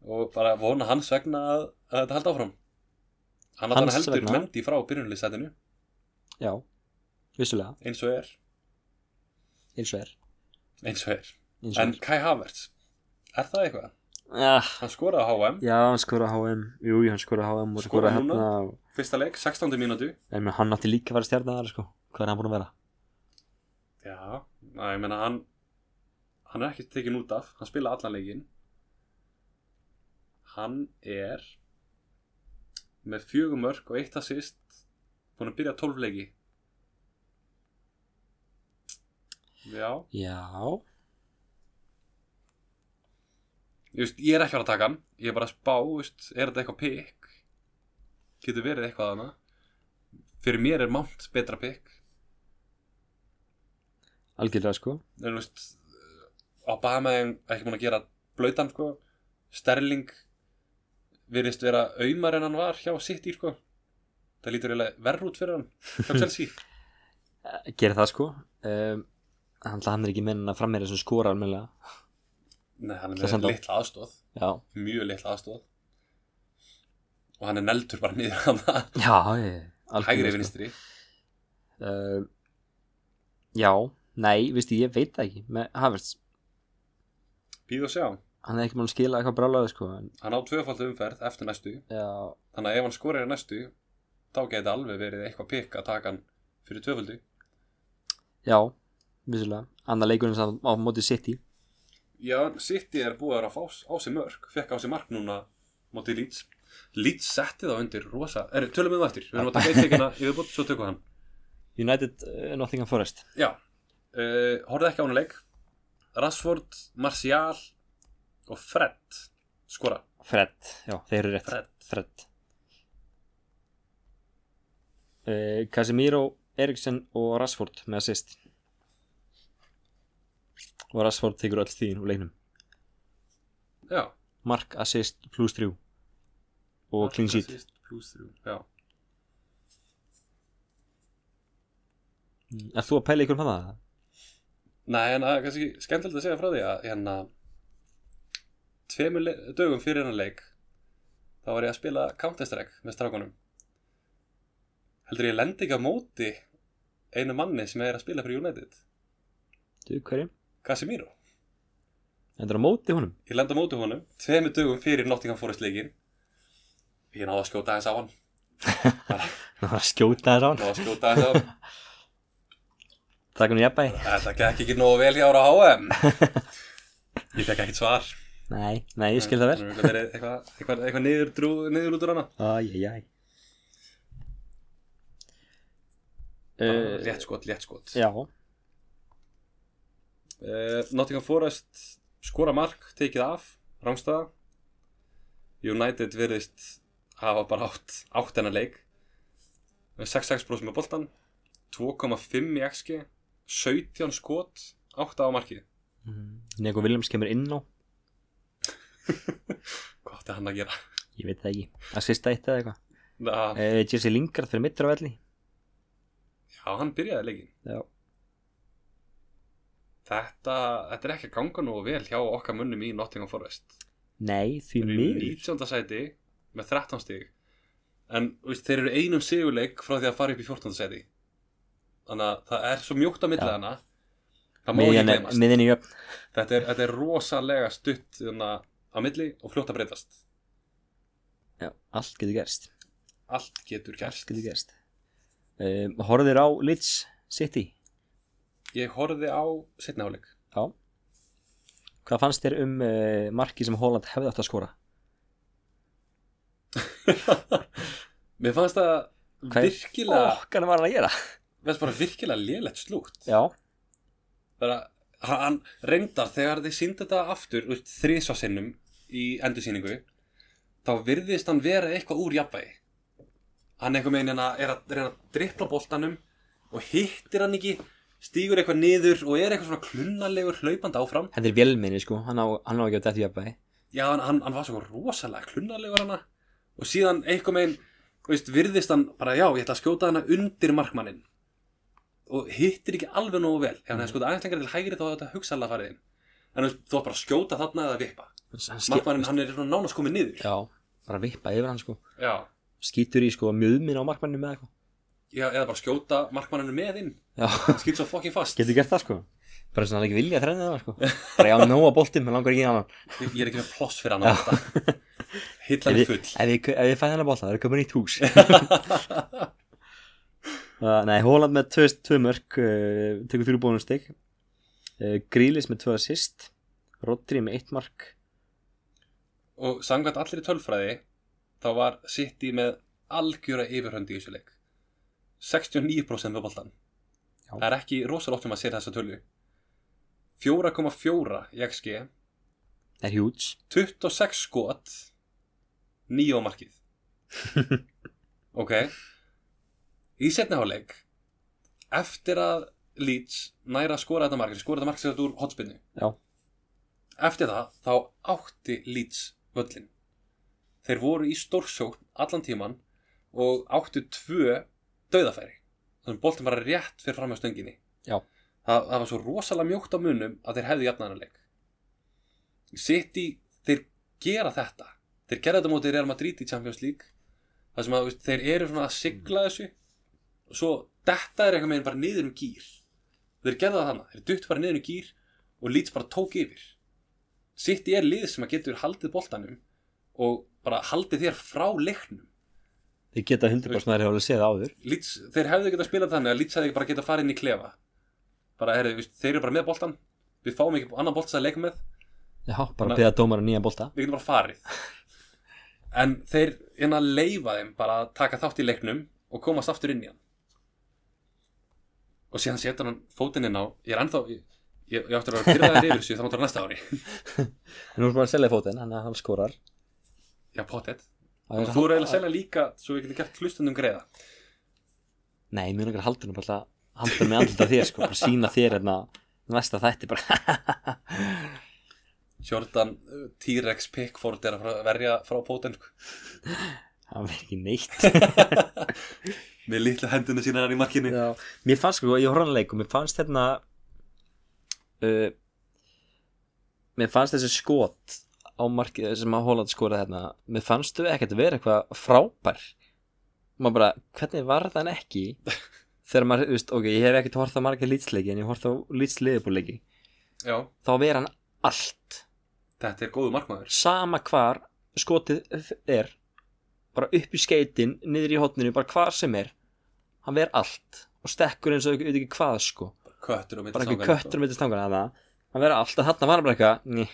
og bara vona hans vegna að, að þetta haldi áfram hann að
Hans
hann heldur
vegna?
mendi frá byrjunlýsætinu
Já, vissulega,
eins og er,
eins og er,
eins og er.
eins og
en
er.
Kai Havertz, er það eitthvað?
Ah,
hann skoraði á HM,
Já, hann skoraði HM, jú, jú, hann skoraði HM og
Skoraði
skoraði
núna?
hérna
fyrsta leik, 16. mínútu
En mér, hann átti líka að vera stjarnar, sko Hvað er hann búin að vera?
já, að ég meina hann hann er ekki tekin út af hann spila allan leikinn hann er með fjögum mörg og eitt assist búin að byrja 12 leiki já
Já,
ég, veist, ég er ekki að fara að taka hann ég er bara að spá, þú veist, er þetta eitthvað pikk getur verið eitthvað hana fyrir mér er Mount betra pikk
algjörlega, sko
en þú veist Obama er ekki búin að gera blöytan sko, Sterling virðist vera aumar en hann var hjá City sko það lítur eiginlega verð út fyrir hann hjá Chelsea
Gerir það, sko um, Hann hann er ekki menna frammeira sem skora almennilega
Nei, hann
Það
er
er
með
sant.
litla aðstóð
Já,
mjög litla aðstóð og hann er neldur bara niður hann
já, ég
hægri
sko.
vinstri
uh, Já, nei, veistu, ég veit það ekki með Havertz,
býð og sjá,
hann er ekki múin að skila eitthvað brálaði sko en,
hann á tvöfaldu umferð eftir næstu
já,
þannig að ef hann skorir í næstu þá geti alveg verið eitthvað pikk að taka hann fyrir tvöfaldu
já, vissulega annar leikurinn sem á móti City
Já, City er búið að vera að fá á sig mörg fekk á sig mark núna mótið Leeds Leeds setti þá undir rosa er, tölum við um það eftir, við erum að taka eitt leikina í viðbútt, svo tökum við hann
United uh, Nottingham Forest
Já, uh, horfðu ekki á hann leik Rashford, Martial og Fred skora,
Fred, já, þeir eru rétt
Fred
Fred uh, Casemiro, Eriksen og Rashford með assist og Rashford tekur öll þín úr leiknum
Já,
mark, assist, plus 3 og clean sheet
Assist, plus þrjú. Já,
Er þú að pæla ykkur um það?
Nei, en það er kannski skemmtilegt að segja frá því að hérna tveimur le- dögum fyrir hennar leik þá var ég að spila Counter-Strike með strákunum heldur ég lendi ekki á móti einu manni sem er að spila fyrir United
Þú, hverju?
Casemiro,
Endur á móti honum?
ég lendi á móti honum tveimur dögum fyrir Nottingham Forest leikin ég náði að skjóta þess á hann
Það var að skjóta þess á hann
náði að skjóta þess á hann
Takk um jafnvægi
þetta gekk ekki nógu vel hjá ára HM ég fekk ekkert svar
Nei, nei, ég skil það vel
Örugglega verið eitthvað, eitthvað, eitthvað niður, drú, niður út úr hana
Æjæjæj
Bara
uh,
létt skot, létt skot
Já,
uh, Nottingham Forest skora mark, tekið af rángstaða United virðist hafa bara átt átt hennar leik með 6-6 bróðs með boltan 2,5 í XG 17 skot, 8 á markið
Mhm. Nego Williams kemur inn á
hvað átti hann að gera?
Ég veit það ekki Assista eitt eða eitthvað
Na,
uh, Jesse Lingard fyrir mittur á velli
já, hann byrjaði leikin
Já
þetta, þetta er ekki að ganga nú vel hjá okkar munnum í Nottingham Forest
Nei, því
Þeir eru í
miður
19. sæti með 13 stig en þú veist, þeir eru einum sigurleik frá því að fara upp í 14. sæti þannig að það er svo mjókt á milli
Já.
hana það má ekki
Miðjan er-
glemast
Miðjan í jöfn
þetta er, þetta er rosalega stutt þannig, á milli og fljótt að breytast
Já, allt getur gerst
allt getur
Allt
gerst
getur gerst um, Horðir á Leeds City
ég horfði á setna áleik
Já Hvað fannst þér um uh, marki sem Holland hefði átt að skora?
mér fannst það
Hvað-
virkilega oh.
Okkan var hann að gera
veist bara virkilega lélegt slútt
Já,
bara, hann hann reyndar þegar þið síndi þetta aftur úr þrísvarsinnum í endursýningu þá virðist hann vera eitthvað úr jafnvægi hann einhvern veginn hérna er að reyna að drippla boltanum og hittir hann ekki stígur eitthvað niður og er eitthvað svona klunnalegur hlaupand áfram
Þetta er vélminni sko, hann á, hann á ekki að þetta jafnvægi
já, hann, hann, hann var svo rosalega klunnalegur hana og síðan einhvern veginn þú veist, virðist hann bara, já, ég ætla að skjóta hana undir markmannin og hittir ekki alveg nógu vel ef hann hefði skjóta aðeins lengra til hægri þá hefði þetta hugsalega farið inn en þú veist, þú átt bara að skjóta þarna eða vippa
Hann ske-
markmannin, hann er svona nánast komið niður
Já, bara vippa yfir hann sko
já,
Skítur í sko mjöðmin á markmannu með eitthvað
já eða bara skjóta markmanninu með inn
Já,
skýt svo fokkin fast
getur gert það sko Bara svona hann ekki vilja að þrenna það sko Bara já, nóa boltum, hann langar ekki í annan
ég ég er ekki með ploss fyrir hann á þetta hillan
Ef
er
ég,
full
ef ég, ef ég fæði hann að bolta, það er komin í tús uh, Nei, Holland með tvö, tvö mörk uh, tekur þrjú bónustig uh, Grílis með tvö assist Rodri með eitt mark
og samkvæmt allir í tölfræði þá var City með algjöra yfirhönd í þessu leik 69% við boltan
Já.
það er ekki rosalótt um að setja þessa tölu 4,4 í XG
Það er huge
26 skot 9 á markið ok í setni háleik eftir að Leeds næra að skora þetta markið skora þetta markið sér þetta úr hotspinnu
Já.
eftir það þá átti Leeds völlin þeir voru í stórsókn allan tíman og áttu tvö dauðafæri þannig boltin bara rétt fyrir fram á stönginni
Já.
það, það var svo rosalega mjókt á munum að þeir hefðu jafnanleik City, þeir gera þetta þeir gera þetta mótið Real Madrid í Champions League það sem að þú veist, þeir eru svona að sigla þessu og svo detta er eitthvað meginn bara niður um gýr þeir gerða það þannig, þeir dutt bara niður um gýr og lít bara tók yfir City er lið sem að getur haldið boltanum og bara haldið þér frá leiknum
Þeir geta 100% að þeir hafa séð áður
Leeds, þeir hefðu getað spilað þannig að Leeds hefði bara getað farið inn í klefa bara, heyrðu, veist, þeir eru bara með boltan við fáum ekki annan boltan að leika með
Já, bara
Þannig-
beða dómar að nýja bolta
við getum bara farið en þeir hérna leifa þeim bara að taka þátt í leiknum og komast aftur inn í hann og síðan setur hann fótinn inn á ég er ennþá, ég, ég, ég áttur að vera pyrraðar yfir þessu þá áttur að næsta ári,
En nú er bara að selja fótinn, hann, hann skorar
já pottet
Og
þú eru eiginlega að selja líka svo við getum gert hlustundum greiða
Nei, mér langar að halda hann bara að halda hann með andlut af þér sko, bara sína þér hérna næsta þætti bara
Jordan uh, T-Rex Pickford er að fara að verja frá potinn sko.
hann verð ekki neitt
með litlu hendina sína hann í markinu
Já, mér fannst sko, ég horfði á hann leik og mér fannst hérna uh, mér fannst þessi skot á markið sem að Holland skoraði hérna mér fannst þau ekkert vera eitthvað frábær maður bara, hvernig var þann ekki þegar maður, þú veist, ok, ég hef ekkert horfð á margir lýtsleiki en ég horfð á lýtsleifubúleiki
já,
þá vera hann allt
þetta er góðu markmaður
sama hvar skotið er bara upp í skeitin, niður í hotninu bara hvar sem er, hann ver allt og stekkur eins og ég veit ekki hvað sko
köttur og
bara ekki köttur með stangana það hann verið alltaf þarna var hann bara eitthvað ný,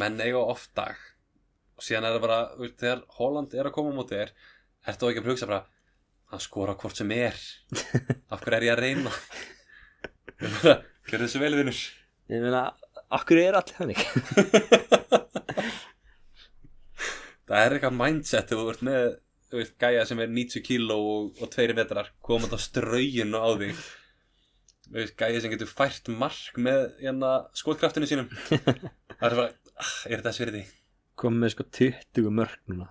menn eiga oft dag og síðan er það bara, þú veist, þegar Holland er að koma á móti þér, ert þú ekki að hugsa bara hann skora hvort sem er af hverju er ég að reyna Ég bara, gerðu þessu vel vinnur
ég meina okkur er allir þannig
það er eitthvað mindset þegar þú ert með þú veist, gæja sem er 90 kíló og, og 2 metrar komand á strögin og á því Þú veist, gæja sem getur fært mark með hérna, skotkraftinu sínum það er bara, ah, er þetta sverði
komið með sko 20 mörg núna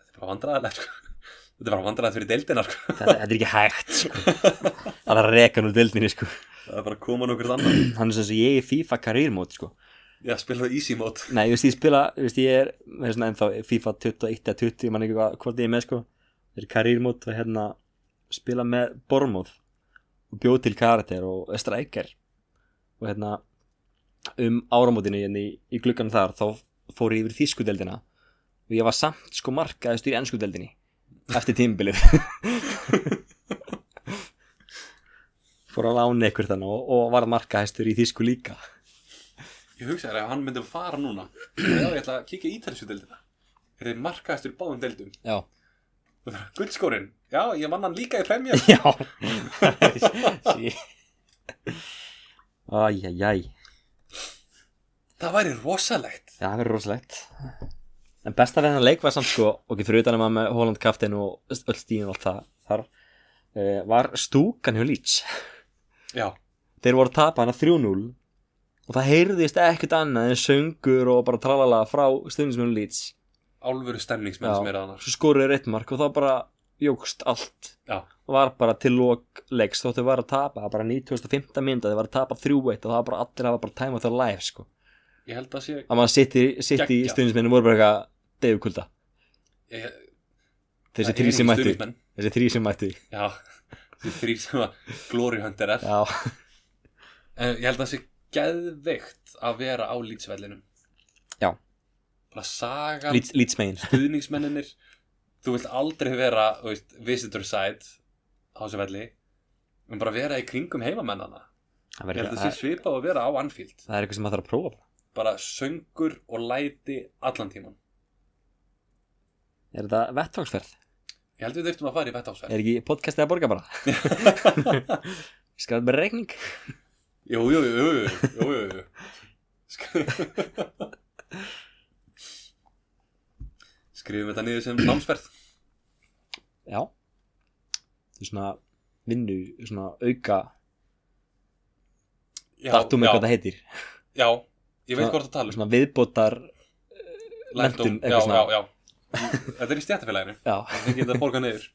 þetta er bara vandræðilegt sko. þetta er bara vandræðilegt fyrir deildina sko.
þetta, þetta er ekki hægt sko það er að reka nú dildinni sko
það er bara að koma nokkur annar
hann er sem sem ég er FIFA karýrmót sko
Já, spila það easy mode
nei, þú veist ég spila, þú veist ég er með svona ennþá FIFA 21 eða 20 ég man ekki hvað, hvort ég er með sko það er karýrmót og hérna spila með bormóð og bjóð til karakter og strækjar og hérna um áramótinu hérna í, í gluggan þar þá fór ég yfir þýskudeldina og ég var samt sko markaðist í ennskudeldinni eftir tímbilið fór að lána ykkur þannig og, og var markaðistur í þýsku líka
Ég hugsa þér að hann myndi fara núna Já, ég ætla að kíkja í ítalsku deildina Er þið markaðistur í báðum deildum
já
Guldskórin, já, ég vann hann líka í premjör
Já Sí Æjæjæ
Það væri rosalegt
Það verður rosalegt en besta við þennan leik var samt sko ok, fyrir utan að maður með Holland kaftin og öll stíðin og allt það þar uh, var stúkan hjá Leeds
Já,
þeir voru að tapa hana 3-0 og það heyrðist ekkert annað en söngur og bara tralala frá stundismjölu Leeds
álfuru stemningsmenn
Já.
sem eru annars
svo skoruðu reitt mark og þá bara jógst allt
Já.
og var bara til lok leiks þóttu var að tapa, það var bara 1905 mynda þau var að tapa 3-1 og það var bara allir hafa bara tæma þau live sko
Ég held að sé
að maður sitti, sitti í
Geggjað.
stundismennu voru bara eitthvað deyfukulda
ég,
þessi
það
þrý
eru
sem mættu
stuðningsmenn.
þessi þrý sem mættu
Já, þessi þrý sem að Glory Hunter er
já,
En ég held að það sé geðveikt að vera á lýtsvellinum
Já.
Bara saga
Leeds- Leeds megin
stuðningsmenninir Þú vilt aldrei vera, þú veist, visitor side á þessu velli En bara vera í kringum heimamennana
það
Ég
verður-
held að það sé svipað að vera á Anfield
það er eitthvað sem maður þarf að prófa bara.
Bara söngur og læti allan tíman
er þetta vettvangsferð?
Ég held við þurftum að fara í
er
vettásverð
ekki podcastið að borga bara? skal þetta bara regning?
Jú, jú, jú, jú, jú, jú, jú. Sk- Skrifum þetta niður sem námsverð
já þú svona vinnu, svona auka
Já,
datum með
já,
hvað það heitir
Já, ég veit
Svona-
hvort það tala um
svona viðbótar
Lærdóm,
menntun,
já,
eitthvað
já,
svona.
já Þetta er í stjættafélaginu
já,
Það geta að borga niður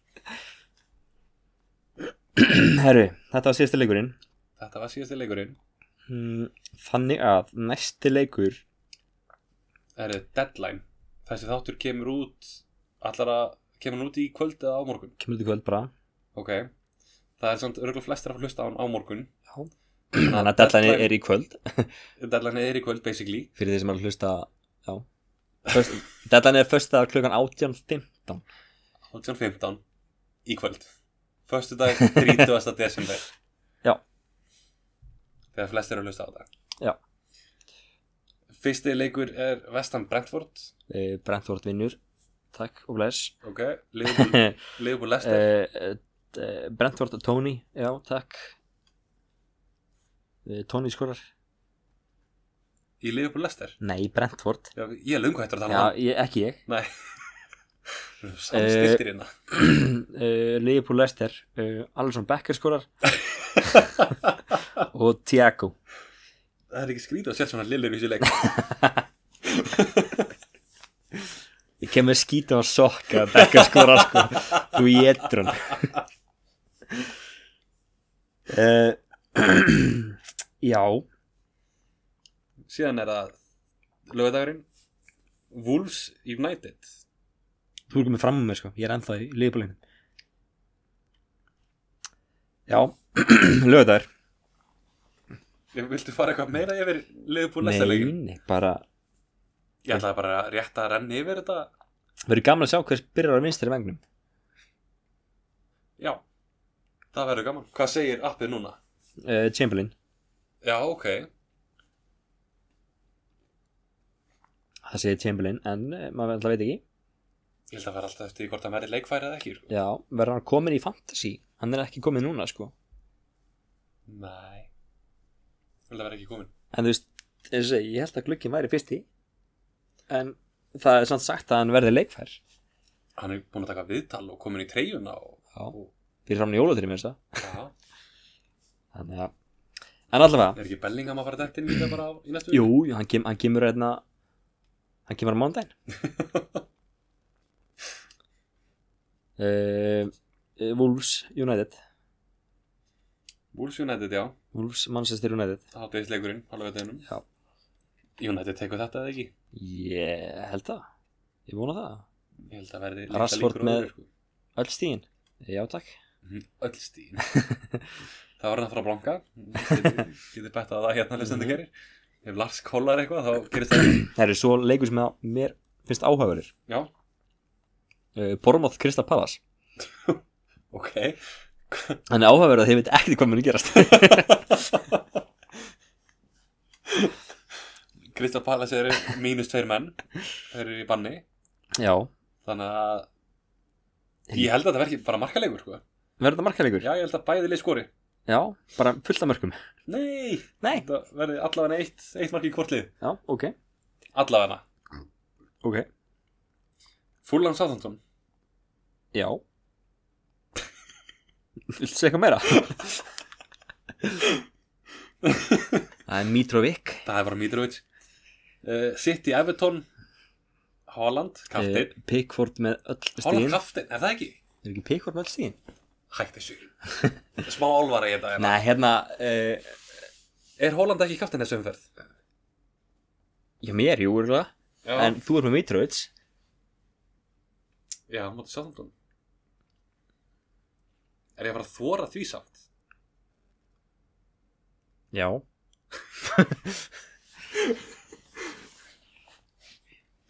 herru, þetta var síðasta leikurinn
Þetta var síðasti leikurinn
Mm, þannig að næsti leikur
Það er deadline Þessi þáttur kemur út Allar að kemur hann út í kvöld eða á morgun
kemur þetta í kvöld bara
Ok Það er samt örgulega flestir að hlusta á hann á morgun
Já. þannig að deadline er í kvöld
Deadline er í kvöld basically
fyrir þeir sem er að hlusta já Föst, deadline er fyrsta klukkan 18.15
18.15 í kvöld Föstu dag 30. desember
Já.
Þegar flestir að hlusta á það
Já.
Fyrsti leikur er Vestan Brentford
uh, Brentford vinnur takk og bless
Ok, Liverpool,
uh,
Liverpool Leicester
uh, Brentford Tony já takk uh, Tony skorar
Í Liverpool Leicester
nei Brentford
Já, Ég er löngu hættur að
já
tala
ég, ekki ég
um það Samstiltir hérna
Eh, uh, Liverpool Leicester uh, Alisson Becker skorar og Thiago
Það er ekki skrítið að setja svona lillur í þessu leik
ég kemur skítið á sokka að Becker skorar sko þú getur hann uh, já
Síðan er það lögadagurinn Wolves United
þú erum með fram með mér sko ég er ennþá í liðbúlinu já lögðar
Viltu fara eitthvað meira yfir Liverpool Leicester
nei,
leikin?
nei, bara
Ég ætlaði bara að rétta að renni yfir þetta
verður gaman að sjá hver byrjar á vinstri vengnum
Já, það verður gaman Hvað segir appið núna?
uh, Chamberlain
Já, ok
það segir Chamberlain en uh, maður alltaf veit ekki
Ég held að vera alltaf eftir því hvort að verði leikfærið eða ekki sko.
Já, verður hann komin í fantasy? Hann er ekki komin núna, sko.
Nei Ég held að vera ekki komin
En þú veist, eins og segi, ég held að glukkin væri fyrst í. En það er samt sagt að hann verði leikfær.
Hann er búin að taka viðtal og komin í treyjuna og...
Já. Fyrir fram í jólatrið með þess að.
Já,
Þannig að, en allavega,
er ekki Bellingham að fara dætt inn í þetta bara á, í næstu
jú, jú, hann, kem, hann kemur hérna, hann kemur á mándaginn. uh, Wolves United,
Wolves United, já
Wolves Manchester United.
Hátegisleikurinn, hálfveitiðinum
Já.
United tekur þetta eða ekki
Ég held það, ég vona það.
Ég held að verði
Rashford
á
með-
öðru, sko.
Öll stíðin, já takk.
Mhm, Öll stíðin Það var hann að fara að blanka Getur getur bett að það hérna lesandi
Mhm.
gerir Ef Lars kollar eitthvað þá gerist það ekki.
Það eru svo leikur sem að mér finnst áhæfurir.
Já,
uh, Bormoth Krista Pallas
ok
hann er áhugaverð að þeir veit ekkert hvað mun gerast
Krista Pallas eru mínus tveir menn Þeir eru í banni
já,
Þannig að Ég held að það verði bara markaleikur sko.
verður það markaleikur?
Já, ég held að bæði leið skori
já, bara fullt af mörgum
Nei,
nei,
það verði allavega eitt, eitt mark í hvort lið
já, ok,
Allavega
ok
Fulham Southampton
Já Viltu segja eitthvað meira? Það er Mitrovic
Það er bara Mitrovic uh, City Everton Haaland,
eh,
kaftin
Pickford með öll stíðin
Haaland kaftin, er það ekki?
Er ekki Pickford með öll stíðin?
Hætti þessu Smá álvara í þetta hérna.
Nei, hérna uh,
Er Haaland ekki kaftin þessu umferð?
Já, mér, jú, örgulega
Já,
En þú ert með Mitrovic
já móti Southampton Er ég að fara að þvora því samt?
Já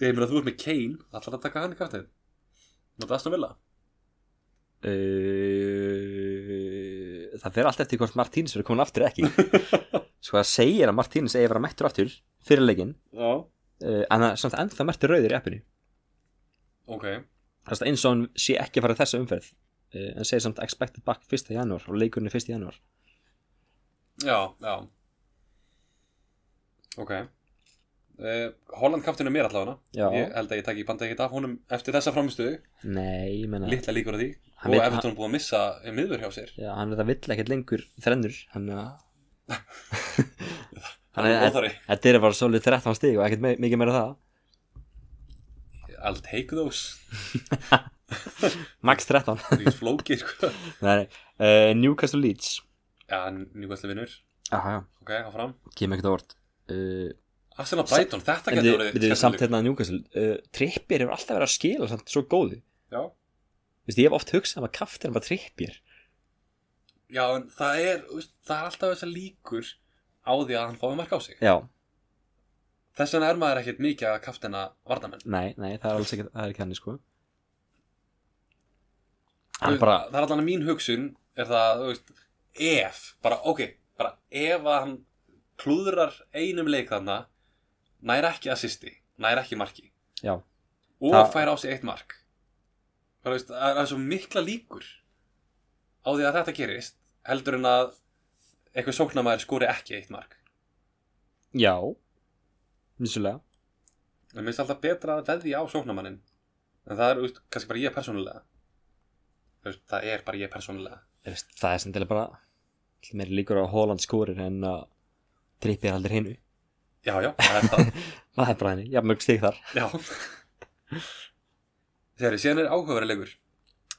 Ég meina þú ert með Kane, allar að taka hann í kaftin Nóta Aston Villa
Uh, það fer allt eftir hvort Martínez verður komin aftur eða ekki sko það segir að Martínez eigi að vera mættur aftur fyrir leikinn
Já
uh, en það er samt ennþá mertur rauður í appinu
Ok,
það er eins og hann sé ekki að fara í þessa umferð uh, en segir samt expected back 1. janúar og leikurinn er 1. janúar
já, já Ok uh, Holland kaftinu mér allavega
Já.
Ég held að ég takk í banda ekkert af honum eftir þessa framistuðu
nei, ég menna
Littlega líkur að því
Hann
Og
vill-
Everton er búið að missa miður hjá sér
já, hann er það vill ekkert lengur þrennur hann er
Hann er óþarfi
þetta er bara svolítið 13 stig og ekkert me mikið meira en það
I'll take those
max 13
Þvíð flókir sko
nei, uh, Newcastle Leeds
Já, njúkvæslega vinnur
aha,
Ok, áfram
kemur ekkert á orð uh,
Arsenal Brighton, þetta
En
getur
við
orðið
við erum samt
skemmtileg.
hérna að Newcastle uh, Trippir hefur alltaf verið að skila samt svo góðu
Já
Vist, Ég hef oft hugsað um að kaftin bara trippir
Já, en það er, þú veist, það er alltaf þessar líkur á því að hann fái mark á sig
Já,
Þess vegna er maður ekkert mikið að kaftina vardamenn
nei, nei, það er alls ekki, það er ekki hann sko Hann bara,
Það er allan að mín hugsun er það, þú veist, ef bara, ok, bara ef að hann klúðrar einum leik þarna nær ekki assisti nær ekki marki
já,
og
Það-
fær á sig eitt mark það, þú veist, það er svo mikla líkur á því að þetta gerist heldur en að eitthvað sóknamaður skori ekki eitt mark
já Vissulega
en mér finnst alltaf betra að veðja á sóknamannin en það er, þú veist, kannski bara ég persónulega Þú veist, það er bara ég persónulega
Vist, Það er sem til bara ætli Mér líkur á Holland skórir en að trippir aldrei hinu
já, já, það er það
Það er bara henni, já, mjög stig þar
Já Þegar síðan er áhugaverið leikur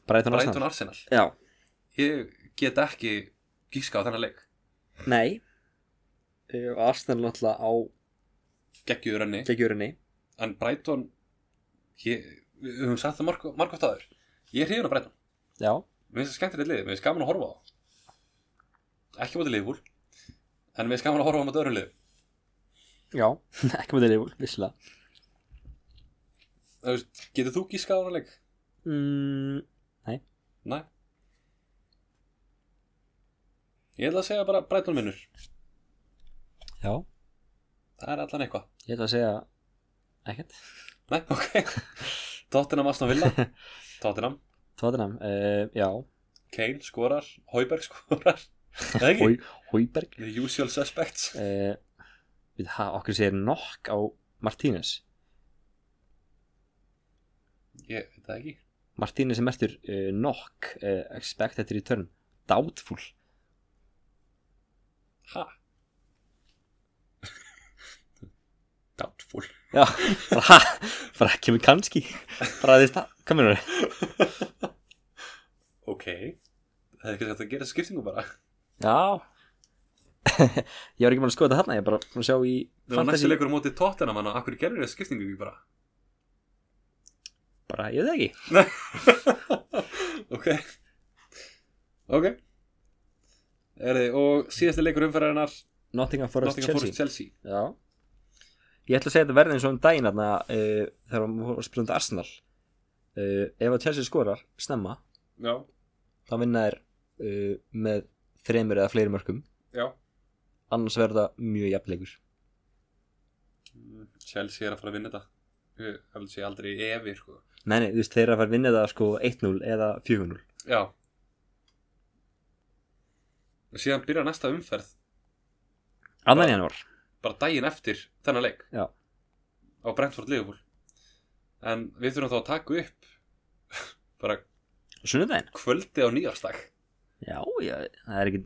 Breiton
Brighton
Arsenal
Arsenal
Já,
Ég get ekki gíska á þennan leik
nei Eh, og Arsenal náttúrulega á
Geggjur henni
gegjurinni
En Brighton ég, Við höfum sagt það marg- margótt aður Ég er hrifin á Brighton
Já,
Mér finnst það skemmtilegt lið Mér finnst gaman að horfa á það Ekki mútið liðbúl En mér finnst gaman að horfa á mútið öðrum lið
já, ekki með þeirri Vissulega
Þú veist, Getur þú gíska á þennan leik?
mm,
Nei Ég ætla að segja bara Brighton vinnur
Já,
Það er allan eitthvað
ég ætla að segja ekkert
Nei, ok Tottenham Aston Villa Tottenham,
Tottenham, uh, já
Kane skorar Hauberg skorar Eða ekki?
Hoi- Hauberg
The usual suspects
uh, Við það, okkur segir nokk á Martínez
Ég veit það ekki
Martínez er mertur uh, nokk uh, Expected return, doubtful
Ha? Doubtful
Já, bara, ha, bara kemur kannski Bara því stað, kominu
Ok Það er ekki hægt að gera skiptingu bara
Já Ég var ekki maður að skoða þetta þarna Ég er bara búin að sjá í
Það var næstu leikur á móti Tottenham Þannig að akkur gerir það skiptingu ekki bara
Bara, ég veit það ekki
Ok Ok Erði, og síðasti leikur umferðarinnar
Nottingham Forest
Nottingham
Chelsea
Forest Chelsea
Já Ég ætla að segja þetta verði eins og um daginn þarna, uh, þegar við vorum að spila um Arsenal uh, Ef að Chelsea skorar snemma
Já,
þá vinna þær uh, með þremur eða fleiri mörkum
já
annars verða mjög jafnleikur
Mm, Chelsea er að fara að vinna þetta Ég held sé aldrei í evi sko.
Nei, nei, þú veist, þeir eru að fara að vinna það sko 1-0 eða 4-0
Já og síðan byrja næsta umferð
Annan janúar
bara daginn eftir þennan leik
Já.
á Brentford Liverpool en við þurfum þá að taka upp bara
Sunnudaginn?
kvöldi á nýjársdag
Já, já, það er ekki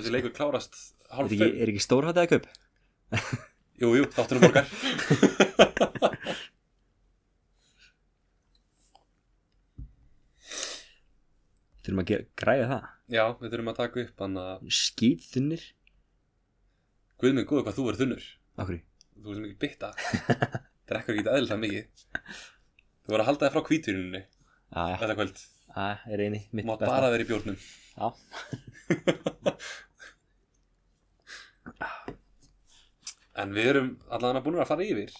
þessi leikur klárast
Er
hálf
ekki,
fimm
er ekki stórhættið að kaup?
jú, jú, þáttunum morgar
Þurfum að gera, græja það
já, við þurfum að taka upp hann að
Skýt þunnir
guð minn góðu hvað þú verður þunnur
Akkur
þú ert mikið bytta drekkur ekki eðlilega mikið þú voru að halda þér frá kvíturinnu
Það
þetta kvöld
er eini
þú
mitt
mátt
besta.
bara vera í bjórnum
Já
En við erum allavega búin að fara yfir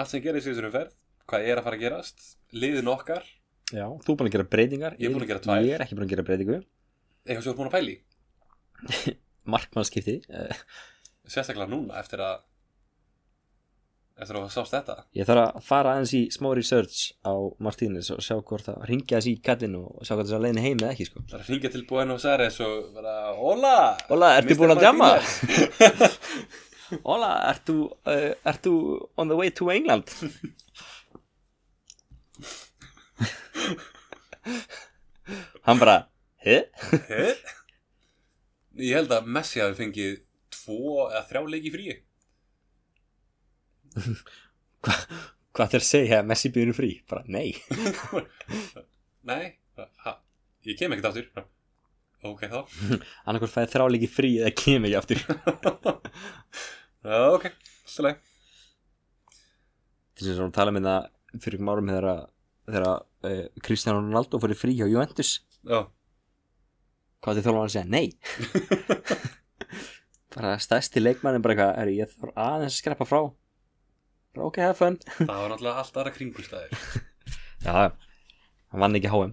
allt sem gerist í þessari ferð, hvað er að fara að gerast, liðin okkar,
Já, þú er búin að gera breytingar
Ég er búinn að gera tvær.
Ég er ekki búin að gera breytingu
eitthvað sem við erum búin að pæli,
Markmannskipti eh,
sérstaklega núna eftir að eftir að það sást þetta.
Ég þarf að fara aðeins í smá research á Martínez og sjá hvort það ringja þessi í kallinn og sjá hvort það er að leiðin heim eða ekki sko
Það er að ringja til Buenos Aires og bara, hola!
Hola, ertu
Mr.
búin að djamma?
Martínez."
Hola, ert þú uh, ert þú on the way to England? Hann bara Hæ?
Heh? Ég held að Messi hafi fengið tvo eða þrjá leiki fríi.
Hvað þér segja að Messi býður frí? Bara nei
Nei, ha, ég kem ekkert aftur. Ok, þá.
Annarkur fæði þráleiki frí eða kem ekki aftur
Já, ok, slæg.
til þess að tala með það fyrir um árum þegar að- þegar að, eh, Cristiano Ronaldo fór í frí hjá Juventus
Já,
hvað þið þólar að segja nei bara stærsti leikmann bara eitthvað, er ég þarf aðeins að skreppa frá bara ok, have fun
það var náttúrulega allt aðra kringumstæðir.
já, hann vann ekki HM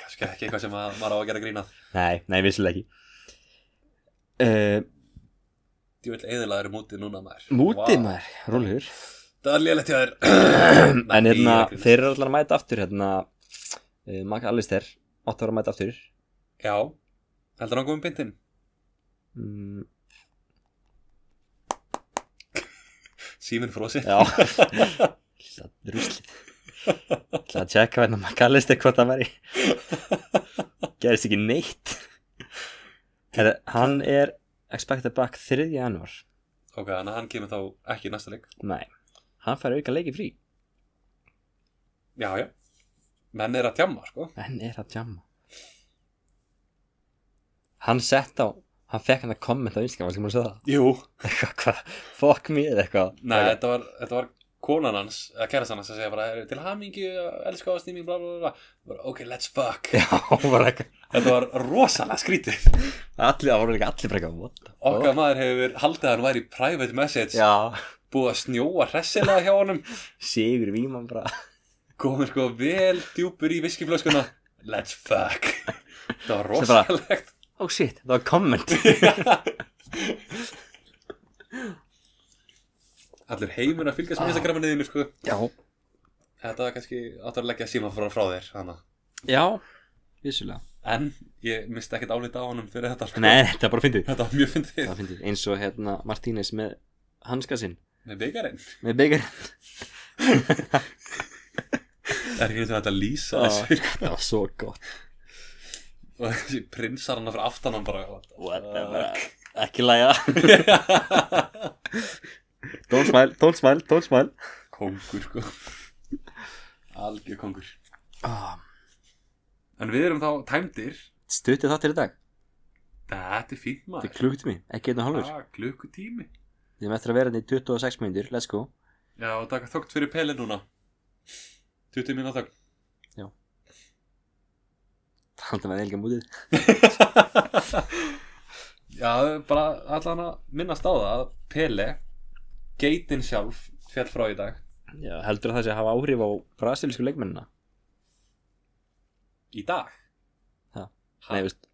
kannski ekki eitthvað sem að, maður á að gera grínað
nei, nei, vissilega ekki uh,
ég vil eðilaður mútið núna maður
mútið
Vá,
maður, rúlegur
það er lélætt hjá þér
en hérna,
Nei, ég er að grínast.
þeir eru allar að mæta aftur hérna, uh, Mark Alistair átt að vera að mæta aftur
já, heldur hann komið bindin
mm,
síminn frósi
Já Lilla druslið Það að tjekka hvernig maður kallist eitthvað það væri Gerist ekki neitt Herra, Hann er expected back 3. janúar
ok, þannig að hann kemur þá ekki í næsta leik
Nei, hann fær auka leiki frí
já, já, menn er að tjamma sko
En er að tjamma Hann sett á Hann fekk hann að kommenta á Instagram sem hún sagði
jú,
það Eitthvað, hvað, fuck me eða eitthvað
nei, þetta var, þetta var konan hans, eða kærast hans að segja bara "Heyrðu, til hamingju, elsku ástími, bla bla bla bara, ok, let's fuck
Já, hún var eitthvað
þetta var rosalega skrítið
Allir, það voru líka allir bara eitthvað what the fuck?
okkar maður hefur haldið að hann væri í private message
Já,
búið að snjóa hressilega hjá honum
sigur Víman bara
komið sko vel djúpur í viskiflöskuna let's fuck það var
Sem bara-
rosalegt
Oh shit, það var komment
allir heimur að
Ah.
fylgjast með Instagraminu þínu sko
Já
þetta var kannski áttur að leggja síma frá, frá þér hana.
Já, vissulega
en ég misti ekkert álita á honum fyrir þetta sko.
Nei, þetta er bara fyndið
þetta var mjög fyndið
Það fyndið, eins og hérna Martínez með hanska sinn
með byggarinn
Með byggar
það er ekki eins og þetta að lýsa
Já.
þessu
Það var svo gott
og þessi prinsar hann fyrir aftan hann bara what the
Ekki læja
fuck?
Don't smile, don't smile, don't smile
kongur sko algjör kongur
oh,
en við erum þá tæmdir
Stuttið þáttir í dag
þetta er fínt
Þetta er
maður
klukkutími, ekki einn og hálfur
Ah, klukkutími
Við erum eftir að vera hérna í 26 minnir, let's go
Já, og taka þögt fyrir pelin núna 20 minna þögt
Haldum að elga mútið
Já, bara allan að minnast á það að Pele geitin sjálf fjall frá í dag
Já, heldur að það sé að hafa áhrif á brasilísku leikmennina
Í dag?
Ha.
Ha?
Nei, veist,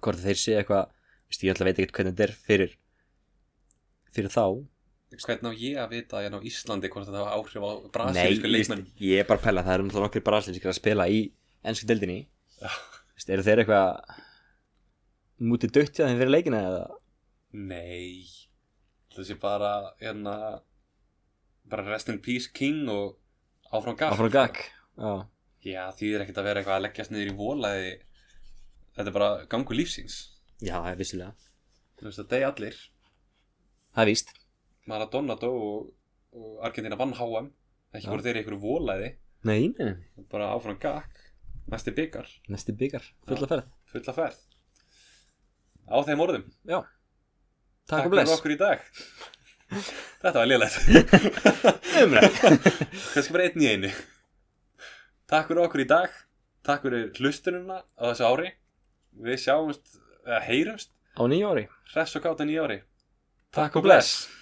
hvort þeir sé eitthvað Veist, ég ætla að veit ekkert hvernig þetta er fyrir Fyrir þá
Hvernig á ég að vita að ég er á Íslandi hvort þetta hafa áhrif á
Nei,
brasilísku
veist,
leikmenn
ég er bara að pæla, það eru náttúrulega okkur brasilískir að spila í ennsku deildinni
Já.
Vist, eru þeir eitthvað mútið dögt hjá þeim fyrir leikina eða
Nei þessi bara hérna bara rest in peace king og áfram gakk
Áfram gag Já,
já því er ekkert að vera eitthvað að leggjast niður í volaði þetta er bara gangu lífsins
já, það er vissilega
þú veist að degi allir
Það er víst
Maradona dó og, og Argentina vann HM ekki
Já.
voru þeir í einhverju volaði
Nei, nei, nei,
bara áfram gakk næsti byggar,
næsti byggar, fulla ferð
fulla ferð á þeim orðum
Takk og
fyrir
bless
okkur í dag þetta var liðlegt
Umræð
kannski bara einn í einu takk fyrir okkur í dag takk fyrir hlustununa á þessu ári við sjáumst, eða heyrumst
Á nýjóri
hress og kátt á nýja ári
Takk og bless.